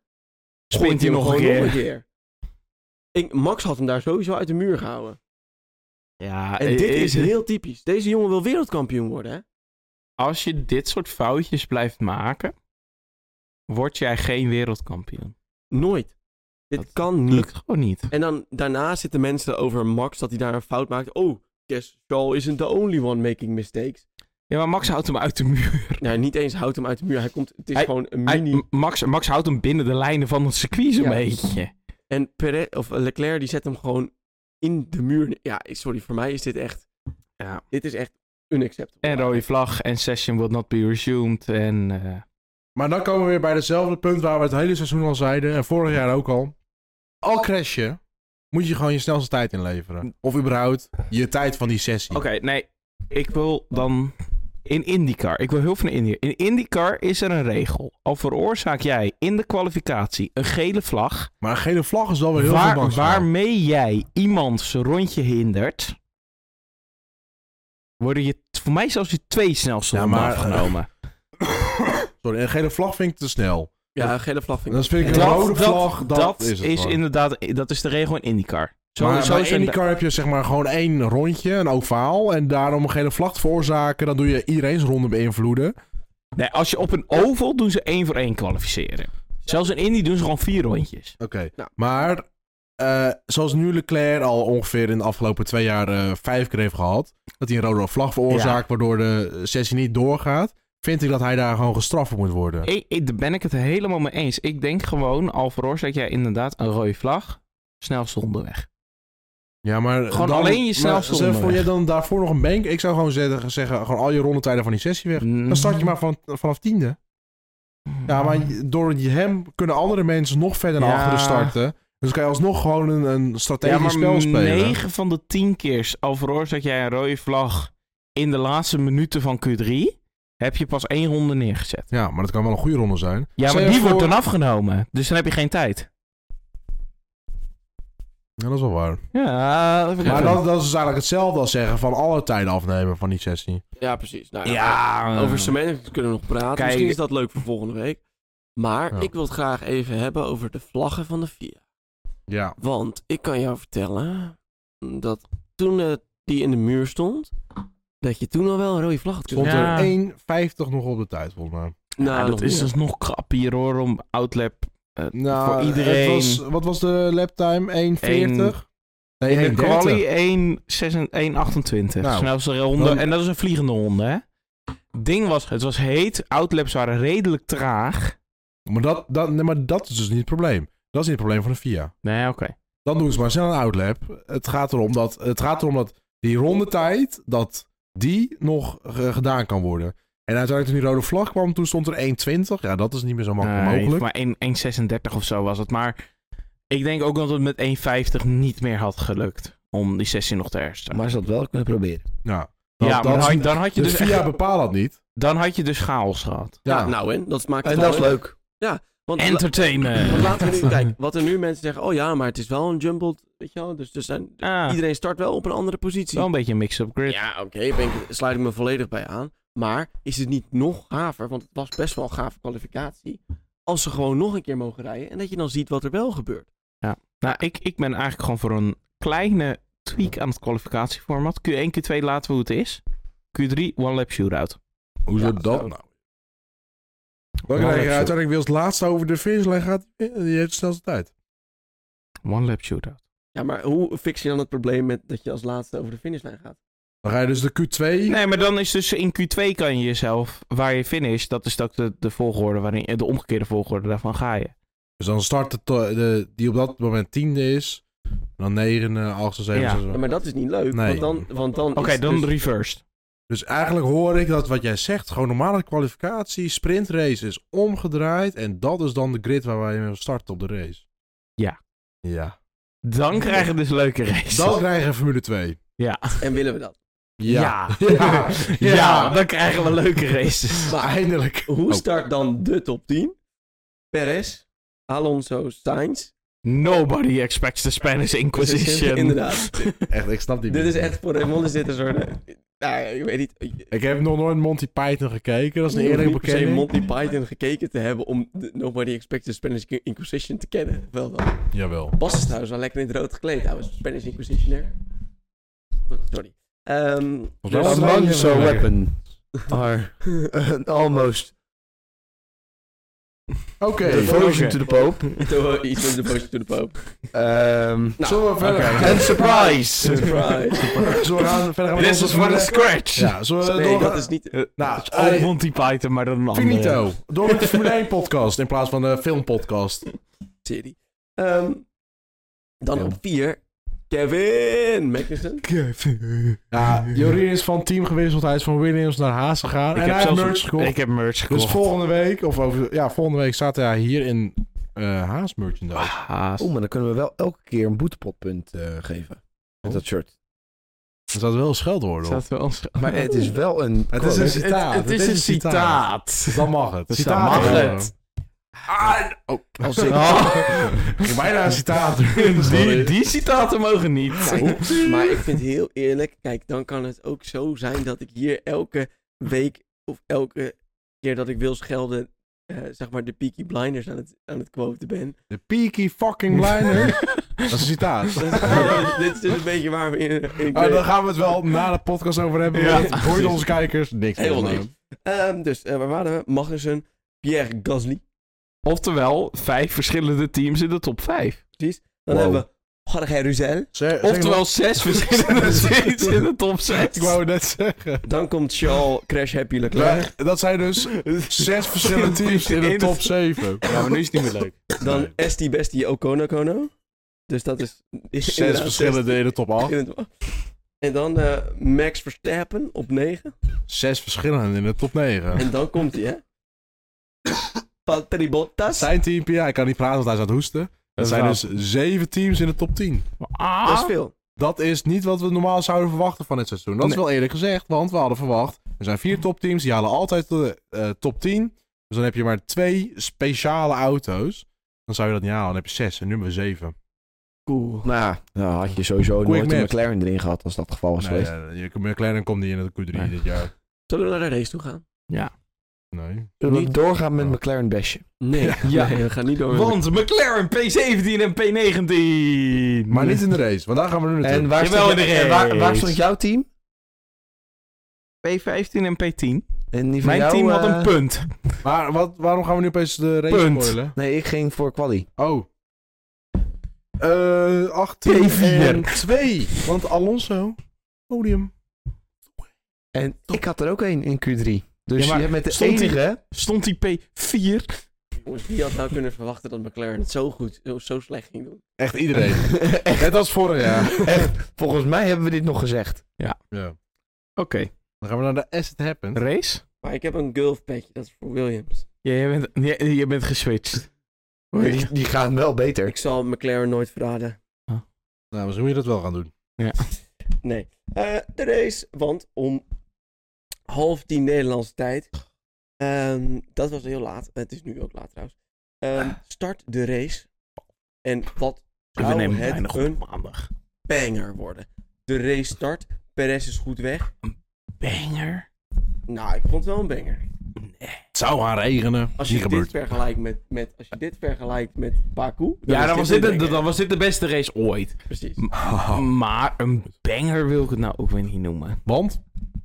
[SPEAKER 3] Spint hij nog een
[SPEAKER 2] gewoon
[SPEAKER 3] keer.
[SPEAKER 2] keer. Ik, Max had hem daar sowieso uit de muur gehouden.
[SPEAKER 3] Ja,
[SPEAKER 2] En
[SPEAKER 3] eh,
[SPEAKER 2] dit
[SPEAKER 3] eh,
[SPEAKER 2] is heel typisch. Deze jongen wil wereldkampioen worden, hè?
[SPEAKER 3] Als je dit soort foutjes blijft maken, word jij geen wereldkampioen.
[SPEAKER 2] Nooit. Dit
[SPEAKER 3] Dat
[SPEAKER 2] kan niet.
[SPEAKER 3] Lukt gewoon niet.
[SPEAKER 2] En dan daarna zitten mensen over Max dat hij daar een fout maakt. Oh, guess Charles isn't the only one making mistakes.
[SPEAKER 3] Ja, maar Max houdt hem uit de muur.
[SPEAKER 2] Nou, niet eens houdt hem uit de muur. Hij komt, het is
[SPEAKER 3] Hij-
[SPEAKER 2] gewoon een
[SPEAKER 3] Hij-
[SPEAKER 2] mini.
[SPEAKER 3] M- Max, Max houdt hem binnen de lijnen van het circuit zo'n
[SPEAKER 2] Ja.
[SPEAKER 3] beetje.
[SPEAKER 2] en Perez, of Leclerc die zet hem gewoon in de muur. Ja, sorry, voor mij is dit echt,
[SPEAKER 3] Ja.
[SPEAKER 2] dit is echt unacceptable.
[SPEAKER 3] En rode vlag en session will not be resumed. En eh,
[SPEAKER 1] Maar dan komen we weer bij hetzelfde punt waar we het hele seizoen al zeiden. En vorig jaar ook al. Al crash je, moet je gewoon je snelste tijd inleveren. Of überhaupt je tijd van die sessie.
[SPEAKER 3] Oké, nee. Ik wil dan in IndyCar. Ik wil heel veel naar Indy. In IndyCar is er een regel. Al veroorzaak jij in de kwalificatie een gele vlag.
[SPEAKER 1] Maar een gele vlag is wel weer Oh, heel veel
[SPEAKER 3] Waar,
[SPEAKER 1] max.
[SPEAKER 3] waarmee jij iemand zijn rondje hindert. Worden je, t- voor mij zelfs je twee snelste
[SPEAKER 1] Ja,
[SPEAKER 3] ronden
[SPEAKER 1] maar, eh, [laughs]
[SPEAKER 3] afgenomen.
[SPEAKER 1] Sorry, een gele vlag vind ik te snel.
[SPEAKER 2] Ja, gele vlag vind ik.
[SPEAKER 1] Dan vind ik een
[SPEAKER 3] Dat-
[SPEAKER 1] rode
[SPEAKER 3] dat-
[SPEAKER 1] vlag. Dat, is, het gewoon.
[SPEAKER 3] inderdaad, dat is de regel in IndyCar. Zo,
[SPEAKER 1] maar
[SPEAKER 3] zo
[SPEAKER 1] bij
[SPEAKER 3] zijn de-
[SPEAKER 1] IndyCar heb je zeg maar gewoon één rondje, een ovaal. En daarom een gele vlag te veroorzaken. Dan doe je iedereen's ronde beïnvloeden.
[SPEAKER 3] Nee, als je op een oval doen ze één voor één kwalificeren. Zelfs in Indy doen ze gewoon vier rondjes.
[SPEAKER 1] Oké,
[SPEAKER 2] Nou.
[SPEAKER 1] maar eh, zoals nu Leclerc al ongeveer in de afgelopen twee jaar eh, vijf keer heeft gehad. Dat hij een rode vlag veroorzaakt, waardoor de sessie niet doorgaat. Vind ik dat hij daar gewoon gestraft voor moet worden.
[SPEAKER 3] Ik, ik- daar ben ik het helemaal mee eens. Ik denk gewoon, al veroorzaak jij inderdaad een rode vlag, snelste onderweg.
[SPEAKER 1] Ja, maar
[SPEAKER 3] Gewoon alleen je snelste
[SPEAKER 1] maar zeg,
[SPEAKER 3] onderweg.
[SPEAKER 1] Vond jij dan daarvoor nog een bank? Ik zou gewoon zeggen, zeggen gewoon al je rondetijden van die sessie weg.
[SPEAKER 3] Mm.
[SPEAKER 1] Dan start je maar van, vanaf tiende. Ja, maar door je hem kunnen andere mensen nog verder naar
[SPEAKER 3] Ja.
[SPEAKER 1] achteren starten. Dus kan je alsnog gewoon een, een strategisch
[SPEAKER 3] Ja, maar
[SPEAKER 1] spel spelen.
[SPEAKER 3] 9 van de 10 keer al veroorzaak jij een rode vlag in de laatste minuten van Q3, heb je pas één ronde neergezet.
[SPEAKER 1] Ja, maar dat kan wel een goede ronde zijn.
[SPEAKER 3] Ja,
[SPEAKER 1] Stel
[SPEAKER 3] maar
[SPEAKER 1] je
[SPEAKER 3] die wordt
[SPEAKER 1] voor-
[SPEAKER 3] dan afgenomen. Dus dan heb je geen tijd.
[SPEAKER 1] Ja, dat is wel waar.
[SPEAKER 3] Ja, dat vind ik
[SPEAKER 1] Maar
[SPEAKER 3] wel.
[SPEAKER 1] dat, dat is dus eigenlijk hetzelfde als zeggen van alle tijden afnemen van die sessie.
[SPEAKER 2] Ja, precies. Nou,
[SPEAKER 3] Ja,
[SPEAKER 2] Over cement kunnen we nog praten.
[SPEAKER 3] Kijk-
[SPEAKER 2] Misschien is dat leuk voor volgende week. Maar
[SPEAKER 1] Ja.
[SPEAKER 2] ik wil het graag even hebben over de vlaggen van de FIA.
[SPEAKER 1] Ja.
[SPEAKER 2] Want ik kan jou vertellen dat toen eh, die in de muur stond, dat je toen al wel een rode vlag had kunnen
[SPEAKER 1] Stond
[SPEAKER 3] Ja.
[SPEAKER 1] er 1,50 nog op de tijd, volgens mij.
[SPEAKER 2] Nou,
[SPEAKER 3] Ja, dat
[SPEAKER 2] nog
[SPEAKER 3] is
[SPEAKER 2] niet.
[SPEAKER 3] dus nog krap hier hoor, om Outlap eh,
[SPEAKER 1] Nou,
[SPEAKER 3] voor
[SPEAKER 1] het
[SPEAKER 3] iedereen.
[SPEAKER 1] was, wat was de laptime? 1,40?
[SPEAKER 3] in de
[SPEAKER 1] Nee, 1,30.
[SPEAKER 3] quali 1, 1,28.
[SPEAKER 1] Nou,
[SPEAKER 3] snelste ronde.
[SPEAKER 1] dan-
[SPEAKER 3] En dat is een vliegende ronde, hè? Ding was, het was heet. Outlaps waren redelijk traag.
[SPEAKER 1] Maar dat, dat, nee, maar dat is dus niet het probleem. Dat is niet het probleem van de FIA.
[SPEAKER 3] Nee, oké.
[SPEAKER 1] Dan doen ze maar snel een outlap. Het gaat erom dat, het gaat erom dat die rondetijd, dat die nog eh, gedaan kan worden. En uiteindelijk toen die rode vlag kwam, toen stond er 1,20. Ja, dat is niet meer zo makkelijk
[SPEAKER 3] Nee,
[SPEAKER 1] mogelijk.
[SPEAKER 3] Eh, Maar 1 1,36 of zo was het. Maar ik denk ook dat het met 1,50 niet meer had gelukt. Om die 16 nog te herstellen.
[SPEAKER 4] Maar ze had wel kunnen proberen.
[SPEAKER 1] Ja, dat,
[SPEAKER 3] ja,
[SPEAKER 1] dat
[SPEAKER 3] maar
[SPEAKER 1] is-
[SPEAKER 3] dan, had- dan had je
[SPEAKER 1] de
[SPEAKER 3] dus
[SPEAKER 1] FIA
[SPEAKER 3] echt-
[SPEAKER 1] bepaalt dat niet.
[SPEAKER 3] dan had je dus chaos gehad.
[SPEAKER 1] Ja,
[SPEAKER 2] Ja, nou en, dat maakt het
[SPEAKER 4] En dat is
[SPEAKER 2] wel-
[SPEAKER 4] leuk.
[SPEAKER 2] Want, la-
[SPEAKER 3] Entertainment.
[SPEAKER 2] want laten
[SPEAKER 3] [laughs]
[SPEAKER 2] we nu kijken, wat er nu mensen zeggen, oh ja, maar het is wel een jumbled, weet je wel. Dus er zijn,
[SPEAKER 3] Ah,
[SPEAKER 2] iedereen start wel op een andere positie.
[SPEAKER 3] wel een beetje een mix-up grid.
[SPEAKER 2] Ja, oké, ben ik- sluit ik me volledig bij aan. Maar is het niet nog gaver, want het was best wel een gave kwalificatie, als ze gewoon nog een keer mogen rijden en dat je dan ziet wat er wel gebeurt.
[SPEAKER 3] Nou, ik, ik ben eigenlijk gewoon voor een kleine tweak aan het kwalificatieformat. Q1, Q2 laten we hoe het is. Q3, one lap shootout.
[SPEAKER 1] Hoezo
[SPEAKER 2] Ja,
[SPEAKER 1] dat
[SPEAKER 2] zo.
[SPEAKER 1] nou? Dan krijg je uiteindelijk weer als laatste over de finishlijn gaat. eh, Die heeft de snelste tijd.
[SPEAKER 3] One lap shootout.
[SPEAKER 2] Ja, maar hoe fix je dan het probleem met dat je als laatste over de finishlijn gaat?
[SPEAKER 1] Dan ga je dus de Q2.
[SPEAKER 3] Nee, maar dan is dus in Q2 kan je jezelf, waar je finish, dat is ook de, de volgorde, waarin, eh, de omgekeerde volgorde, daarvan ga je.
[SPEAKER 1] Dus dan start de, to- de- die op dat moment tiende is. Dan negende, achtste, zevende.
[SPEAKER 3] Ja.
[SPEAKER 1] zesde.
[SPEAKER 2] Ja, maar dat is niet leuk,
[SPEAKER 1] Nee.
[SPEAKER 2] want dan, want dan
[SPEAKER 3] Oké,
[SPEAKER 2] is het
[SPEAKER 3] dan
[SPEAKER 2] dus-
[SPEAKER 3] reversed.
[SPEAKER 1] Dus eigenlijk hoor ik dat wat jij zegt, gewoon normale kwalificatie, sprintrace is omgedraaid. En dat is dan de grid waar wij mee starten op de race.
[SPEAKER 3] Ja.
[SPEAKER 1] Ja.
[SPEAKER 3] Dan krijg je dus leuke races.
[SPEAKER 1] Dan krijgen we Formule 2.
[SPEAKER 3] Ja.
[SPEAKER 2] En willen we dat?
[SPEAKER 3] Ja. [laughs] Ja.
[SPEAKER 1] Ja. Ja.
[SPEAKER 3] dan krijgen we leuke races.
[SPEAKER 1] Maar eindelijk.
[SPEAKER 2] Hoe
[SPEAKER 1] Oh.
[SPEAKER 2] start dan de top 10? Perez, Alonso, Sainz.
[SPEAKER 3] Nobody expects the Spanish Inquisition.
[SPEAKER 2] [laughs] Inderdaad.
[SPEAKER 1] Oh, Echt, ik snap die
[SPEAKER 2] dit
[SPEAKER 1] niet.
[SPEAKER 2] is echt voor Raymond is dit een soort... eh, Nou, ja, ik weet niet.
[SPEAKER 1] Ik heb nog nooit Monty Python gekeken. Dat is een
[SPEAKER 2] Je hoeft
[SPEAKER 1] eerlijk
[SPEAKER 2] niet per se
[SPEAKER 1] bekend.
[SPEAKER 2] Monty Python gekeken te hebben om de- Nobody Expects the Spanish Inquisition te kennen. Wel dan.
[SPEAKER 1] Jawel.
[SPEAKER 2] Bas is trouwens wel lekker in het rood gekleed trouwens. Spanish Inquisitioner. Oh, Sorry. Ehm,
[SPEAKER 1] mij was het
[SPEAKER 2] dus-
[SPEAKER 1] wel-
[SPEAKER 2] [laughs]
[SPEAKER 4] Among your
[SPEAKER 1] Ja.
[SPEAKER 4] weapons [laughs] are almost
[SPEAKER 1] Oké.
[SPEAKER 4] devotion to the Pope.
[SPEAKER 2] Zo, eh, iets met de potion to the pope.
[SPEAKER 4] Ehm
[SPEAKER 1] Zullen we verder
[SPEAKER 3] Oké.
[SPEAKER 1] gaan?
[SPEAKER 4] and surprise!
[SPEAKER 2] Surprise.
[SPEAKER 1] [laughs] Zullen we gaan, verder gaan met
[SPEAKER 3] This
[SPEAKER 1] onze
[SPEAKER 3] is for
[SPEAKER 1] Formule-
[SPEAKER 3] the scratch.
[SPEAKER 1] Ja, zullen we
[SPEAKER 2] Nee,
[SPEAKER 1] door...
[SPEAKER 2] dat is niet...
[SPEAKER 1] Nou,
[SPEAKER 3] Het is al
[SPEAKER 1] eh,
[SPEAKER 3] Monty Python, maar dan een andere.
[SPEAKER 1] Finito. Door met de Formule 1 podcast in plaats van de filmpodcast.
[SPEAKER 2] serie. Ehm, dan
[SPEAKER 1] Ja.
[SPEAKER 2] op 4. Kevin Magnussen.
[SPEAKER 1] Ja, Jorien is van team gewisseld. Hij is van Williams naar Haas gegaan.
[SPEAKER 3] Ik
[SPEAKER 1] en
[SPEAKER 3] heb
[SPEAKER 1] hij heeft
[SPEAKER 3] zelfs
[SPEAKER 1] merch gekocht.
[SPEAKER 3] Ik heb merch gekocht.
[SPEAKER 1] dus volgende week, of over, ja, volgende week staat hij hier in eh, Haas merchandise.
[SPEAKER 3] Ah. Haas.
[SPEAKER 1] Oh,
[SPEAKER 4] Oeh, maar dan kunnen we wel elke keer een boetepotpunt eh, geven. Met dat shirt.
[SPEAKER 1] Dus dat is wel een scheldwoord. hoor.
[SPEAKER 3] Staat wel
[SPEAKER 1] [laughs]
[SPEAKER 3] ons-
[SPEAKER 4] Maar het is wel een...
[SPEAKER 1] Het is een citaat.
[SPEAKER 3] Het is een citaat.
[SPEAKER 1] Dan mag het.
[SPEAKER 3] Dus
[SPEAKER 1] Citaat
[SPEAKER 3] dan mag
[SPEAKER 1] horen.
[SPEAKER 3] het.
[SPEAKER 1] Als ik... Ik ging bijna een citaat doen.
[SPEAKER 3] Oh. [laughs] Die,
[SPEAKER 1] Sorry.
[SPEAKER 3] die citaten mogen [laughs] niet.
[SPEAKER 2] Kijk, Nou, maar ik vind heel eerlijk, kijk, dan kan het ook zo zijn dat ik hier elke week of elke keer dat ik wil schelden, eh, zeg maar de Peaky Blinders aan het, aan het quoten ben.
[SPEAKER 1] De peaky fucking
[SPEAKER 3] [laughs]
[SPEAKER 1] liner. dat is een citaat.
[SPEAKER 2] Dat is- eh, dit is dus een
[SPEAKER 1] [laughs]
[SPEAKER 2] beetje waar we in... in
[SPEAKER 1] Maar daar gaan we het wel na de podcast over hebben.
[SPEAKER 3] Ja.
[SPEAKER 1] want Hoor je onze kijkers? Niks.
[SPEAKER 2] Heel
[SPEAKER 1] meer.
[SPEAKER 2] niks. Ehm, dus, eh, waar waren we? Magnussen, Pierre Gasly.
[SPEAKER 3] Oftewel, vijf verschillende teams in de top vijf.
[SPEAKER 2] Dan
[SPEAKER 4] Wow.
[SPEAKER 2] hebben we
[SPEAKER 4] Jorge Ruzel.
[SPEAKER 1] Zeg- zeg
[SPEAKER 3] Oftewel
[SPEAKER 1] [laughs]
[SPEAKER 3] zes verschillende seeds in de top
[SPEAKER 1] nog-
[SPEAKER 3] 6.
[SPEAKER 1] Ik wou het net zeggen.
[SPEAKER 2] Dan komt Shaw, Crash Happy Leclerc.
[SPEAKER 1] Maar dat zijn dus zes verschillende teams in de top 7.
[SPEAKER 5] Ja, maar nu is het niet meer leuk.
[SPEAKER 2] Dan
[SPEAKER 5] Nee.
[SPEAKER 2] Esti Bestie Okono Kono. Dus dat is...
[SPEAKER 1] Zes verschillende in de top
[SPEAKER 2] Oh.
[SPEAKER 1] 8.
[SPEAKER 2] En dan eh, Max Verstappen op 9.
[SPEAKER 1] Zes verschillende in de top 9.
[SPEAKER 2] En [laughs] dan komt hij, hè? Valtteri Bottas.
[SPEAKER 1] Zijn team, ja, ik kan niet praten want hij is aan het hoesten. Dat zijn dus zeven teams in de top 10.
[SPEAKER 2] Dat is
[SPEAKER 3] Ah,
[SPEAKER 2] veel.
[SPEAKER 1] Dat is niet wat we normaal zouden verwachten van dit seizoen. Dat is
[SPEAKER 3] Nee.
[SPEAKER 1] wel eerlijk gezegd, want we hadden verwacht... Er zijn vier topteams, die halen altijd de eh, top 10. Dus dan heb je maar twee speciale auto's. Dan zou je dat niet halen, dan heb je zes en nu hebben we zeven.
[SPEAKER 2] Cool.
[SPEAKER 4] Nou ja, nou had je sowieso
[SPEAKER 1] Quick
[SPEAKER 4] nooit een
[SPEAKER 1] map.
[SPEAKER 4] McLaren erin gehad als dat het geval was
[SPEAKER 1] Nee,
[SPEAKER 4] geweest.
[SPEAKER 1] ja, je- McLaren komt niet in de Q3
[SPEAKER 3] Nee.
[SPEAKER 1] dit jaar.
[SPEAKER 2] Zullen we naar de race toe gaan?
[SPEAKER 1] Nee.
[SPEAKER 4] Zullen we
[SPEAKER 2] Niet-
[SPEAKER 4] doorgaan met
[SPEAKER 1] Ja.
[SPEAKER 4] McLaren bashen?
[SPEAKER 2] Nee.
[SPEAKER 3] Ja.
[SPEAKER 2] Nee, we gaan niet door. met-
[SPEAKER 3] want McLaren P17 en P19.
[SPEAKER 1] Maar niet in de race, want daar gaan we nu naartoe.
[SPEAKER 4] En waar,
[SPEAKER 3] Jawel,
[SPEAKER 4] stond,
[SPEAKER 3] in de
[SPEAKER 4] en waar,
[SPEAKER 3] race.
[SPEAKER 4] waar stond jouw team?
[SPEAKER 3] P15 en P10.
[SPEAKER 4] En die van
[SPEAKER 3] Mijn
[SPEAKER 4] jou,
[SPEAKER 3] team had
[SPEAKER 4] eh,
[SPEAKER 3] een punt.
[SPEAKER 1] Maar wat, waarom gaan we nu opeens de race
[SPEAKER 3] Punt.
[SPEAKER 1] spoilen?
[SPEAKER 4] Nee, ik ging voor quali.
[SPEAKER 1] Oh. Eh 18 en 2. Want Alonso, podium.
[SPEAKER 4] En ik had er ook één in Q3. Dus
[SPEAKER 3] Ja, maar
[SPEAKER 4] je bent de
[SPEAKER 3] stond die-
[SPEAKER 4] enige...
[SPEAKER 3] Stond die P4?
[SPEAKER 2] Jongens, wie had nou kunnen verwachten dat McLaren het zo goed, zo, zo slecht ging doen?
[SPEAKER 1] Echt
[SPEAKER 4] [laughs]
[SPEAKER 1] iedereen. Net als vorig jaar.
[SPEAKER 4] Echt, volgens mij hebben we dit nog gezegd.
[SPEAKER 1] Ja.
[SPEAKER 3] Oké.
[SPEAKER 1] Dan gaan we naar de As It Happened.
[SPEAKER 3] Race?
[SPEAKER 2] Maar ik heb een Gulf petje, dat is voor Williams.
[SPEAKER 3] Ja, je bent, je, je bent geswitcht. Oei.
[SPEAKER 4] Die, die gaan wel beter.
[SPEAKER 2] Ik zal McLaren nooit verraden.
[SPEAKER 1] Nou, misschien moet je dat wel gaan doen.
[SPEAKER 2] Nee. Eh, de race, want om half tien Nederlandse tijd. ehm, dat was heel laat. Het is nu ook laat trouwens. Ehm, start de race. En wat
[SPEAKER 3] We
[SPEAKER 2] zou
[SPEAKER 3] nemen
[SPEAKER 2] het
[SPEAKER 3] weinig op
[SPEAKER 2] een
[SPEAKER 3] maandag.
[SPEAKER 2] banger worden? De race start. Perez is goed weg.
[SPEAKER 3] Banger.
[SPEAKER 2] Nou, ik vond het wel een banger.
[SPEAKER 1] Het zou gaan regenen. Niet
[SPEAKER 2] Als je, dit
[SPEAKER 1] gebeurd.
[SPEAKER 2] vergelijkt met, met, als je dit vergelijkt met Baku.
[SPEAKER 3] Ja,
[SPEAKER 2] is
[SPEAKER 3] dan was, dit
[SPEAKER 2] een
[SPEAKER 3] de,
[SPEAKER 2] banger.
[SPEAKER 3] dan was dit de beste race ooit. Oh.
[SPEAKER 2] Precies.
[SPEAKER 3] Maar een banger wil ik het nou ook weer niet noemen.
[SPEAKER 1] Want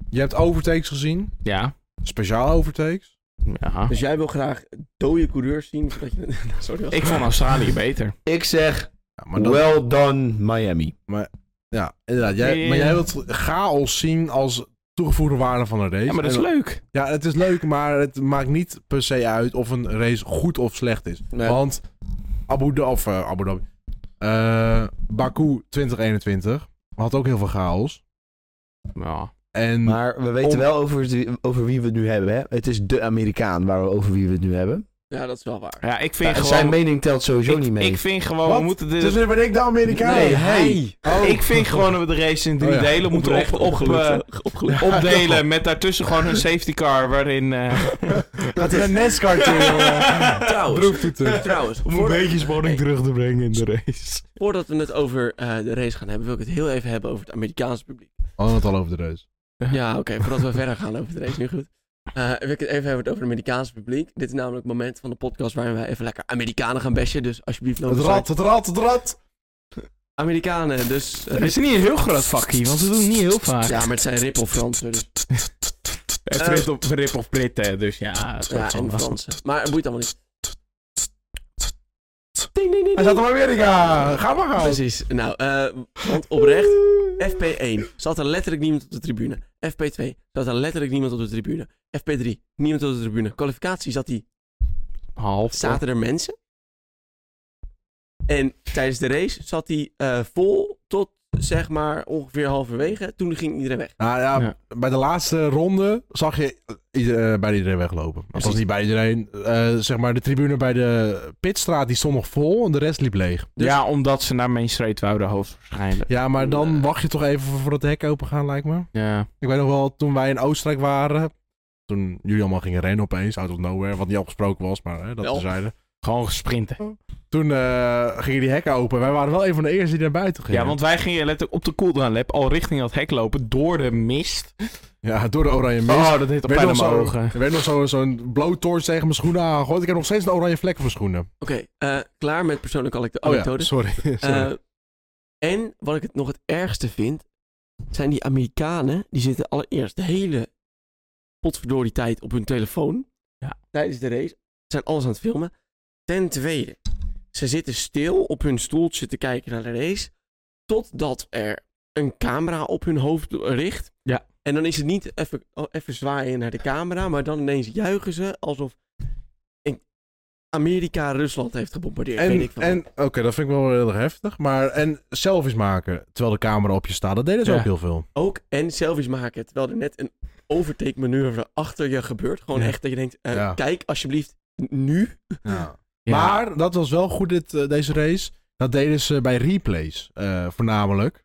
[SPEAKER 1] je hebt overtakes gezien.
[SPEAKER 3] Ja.
[SPEAKER 1] Speciaal overtakes.
[SPEAKER 3] ja.
[SPEAKER 2] Dus jij wil graag dode coureurs zien. Zodat je... [laughs] Sorry. was-
[SPEAKER 3] Ik vond Australië beter.
[SPEAKER 4] Ik zeg,
[SPEAKER 1] Ja, maar, dat-
[SPEAKER 4] well done Miami.
[SPEAKER 1] ja, inderdaad. Jij,
[SPEAKER 3] Ja, ja,
[SPEAKER 1] Maar
[SPEAKER 3] ja.
[SPEAKER 1] jij wilt chaos zien als toegevoegde waarde van een race.
[SPEAKER 3] Ja, maar dat is
[SPEAKER 1] En-
[SPEAKER 3] leuk.
[SPEAKER 1] Ja, het is leuk, maar het maakt niet per se uit of een race goed of slecht is.
[SPEAKER 2] Nee.
[SPEAKER 1] Want Abu Dhabi, of, eh, Abu Dhabi. Eh, Baku 2021 had ook heel veel chaos.
[SPEAKER 3] Ja.
[SPEAKER 1] En
[SPEAKER 4] Maar we weten
[SPEAKER 1] Om-
[SPEAKER 4] wel over, wie- over wie we het nu hebben. Hè? Het is de Amerikaan waar we over wie we het nu hebben.
[SPEAKER 2] Ja, dat is wel waar.
[SPEAKER 3] Ja, ik vind
[SPEAKER 4] Ja,
[SPEAKER 3] gewoon...
[SPEAKER 4] Zijn mening telt sowieso
[SPEAKER 3] ik,
[SPEAKER 4] niet mee.
[SPEAKER 3] ik vind gewoon,
[SPEAKER 1] Wat?
[SPEAKER 3] we moeten de...
[SPEAKER 1] dus nu ben ik de Amerikaan.
[SPEAKER 3] Nee,
[SPEAKER 1] hey. Oh.
[SPEAKER 3] Ik vind gewoon dat we de race in drie
[SPEAKER 1] Oh ja,
[SPEAKER 3] delen moeten op, op, eh,
[SPEAKER 2] opgelucht.
[SPEAKER 3] opdelen. Met daartussen gewoon een safety car waarin... [laughs] eh
[SPEAKER 1] Dat is een eh. NASCAR
[SPEAKER 3] [laughs]
[SPEAKER 4] [laughs]
[SPEAKER 2] Trouwens, [laughs] trouwens voordat,
[SPEAKER 3] spanning terug te brengen in de race.
[SPEAKER 2] voordat we het over eh, de race gaan hebben, wil ik het heel even hebben over het Amerikaanse publiek.
[SPEAKER 1] Hadden het al over de race.
[SPEAKER 2] Ja, oké, voordat we [laughs] verder gaan over de race, nu goed. Eh, wil ik het even hebben over het Amerikaanse publiek. Dit is namelijk het moment van de podcast waarin wij even lekker Amerikanen gaan bashen. Dus alsjeblieft,
[SPEAKER 1] Het
[SPEAKER 2] no
[SPEAKER 1] rad, het rad, het rad.
[SPEAKER 2] Amerikanen, dus... eh,
[SPEAKER 3] Het is niet een heel groot vakje, want we doen het niet heel vaak.
[SPEAKER 2] ja, maar het zijn Ripple-Fransen, dus
[SPEAKER 3] Het
[SPEAKER 2] Eh,
[SPEAKER 3] ript op rip of Brit, hè, dus ja. het
[SPEAKER 2] ja,
[SPEAKER 3] wordt
[SPEAKER 2] en
[SPEAKER 3] wel lastig.
[SPEAKER 2] Fransen. Maar het boeit allemaal niet. Ding, ding, ding,
[SPEAKER 1] Hij
[SPEAKER 2] ding.
[SPEAKER 1] zat op Amerika. Ga maar gaan.
[SPEAKER 2] Precies. Nou, eh, want oprecht, FP1 zat er letterlijk niemand op de tribune. FP2 zat er letterlijk niemand op de tribune. FP3 niemand op de tribune. Kwalificatie zat die,
[SPEAKER 3] Half.
[SPEAKER 2] zaten er mensen. En tijdens de race zat die eh, vol tot zeg maar ongeveer halverwege. Toen ging iedereen weg.
[SPEAKER 1] Nou ja,
[SPEAKER 3] Ja.
[SPEAKER 1] bij de laatste ronde zag je ieder- eh, bij iedereen weglopen. Dat was
[SPEAKER 2] Precies.
[SPEAKER 1] niet bij iedereen. Eh, zeg maar, de tribune bij de pitstraat die stond nog vol en de rest liep leeg. Dus-
[SPEAKER 3] Ja, omdat ze naar Main Street wouden, hoogstwaarschijnlijk.
[SPEAKER 1] Ja, maar dan
[SPEAKER 2] Nee.
[SPEAKER 1] wacht je toch even voordat de hekken open gaan, lijkt me.
[SPEAKER 3] Ja.
[SPEAKER 1] Ik weet nog wel, toen wij in Oostenrijk waren, toen jullie allemaal gingen rennen opeens, out of nowhere, wat niet afgesproken was, maar hè, dat
[SPEAKER 2] Wel.
[SPEAKER 1] terzijde.
[SPEAKER 3] Gewoon gesprinten.
[SPEAKER 1] Toen eh, gingen die hekken open. Wij waren wel een van de eerste die naar buiten gingen.
[SPEAKER 3] Ja, want wij gingen letterlijk op de cooldown lab al richting dat hek lopen door de mist.
[SPEAKER 1] Ja, door de oranje mist.
[SPEAKER 3] Oh, dat deed al
[SPEAKER 1] werd
[SPEAKER 3] pijn aan
[SPEAKER 1] nog
[SPEAKER 3] mijn
[SPEAKER 1] zo-
[SPEAKER 3] ogen.
[SPEAKER 1] Er werd nog zo- zo'n blowtorch tegen mijn schoenen aangegooid. Ik heb nog steeds een oranje vlek op mijn schoenen.
[SPEAKER 2] Oké, eh, klaar met persoonlijke anekdo-
[SPEAKER 1] Oh ja, [laughs]
[SPEAKER 2] anekdotes.
[SPEAKER 1] sorry. sorry.
[SPEAKER 2] Eh, en wat ik het nog het ergste vind, zijn die Amerikanen, die zitten allereerst de hele potverdorie tijd op hun telefoon.
[SPEAKER 3] Ja.
[SPEAKER 2] Tijdens de race. Zijn alles aan het filmen. Ten tweede, Ze zitten stil op hun stoeltje te kijken naar de race. Totdat er een camera op hun hoofd richt.
[SPEAKER 3] Ja.
[SPEAKER 2] En dan is het niet even, oh, even zwaaien naar de camera. Maar dan ineens juichen ze alsof in- Amerika Rusland heeft gebombardeerd. weet
[SPEAKER 1] En,
[SPEAKER 2] ik wel.
[SPEAKER 1] en oké, dat vind ik wel heel erg heftig. Maar en selfies maken terwijl de camera op je staat, dat deden ze
[SPEAKER 3] Ja.
[SPEAKER 1] ook heel veel.
[SPEAKER 2] Ook en selfies maken. Terwijl er net een overtake manoeuvre achter je gebeurt. Gewoon
[SPEAKER 1] Ja.
[SPEAKER 2] echt dat je denkt, eh,
[SPEAKER 1] Ja.
[SPEAKER 2] kijk alsjeblieft nu.
[SPEAKER 3] Ja.
[SPEAKER 1] Maar dat was wel goed dit, eh, deze race. Dat deden ze bij replays eh, voornamelijk.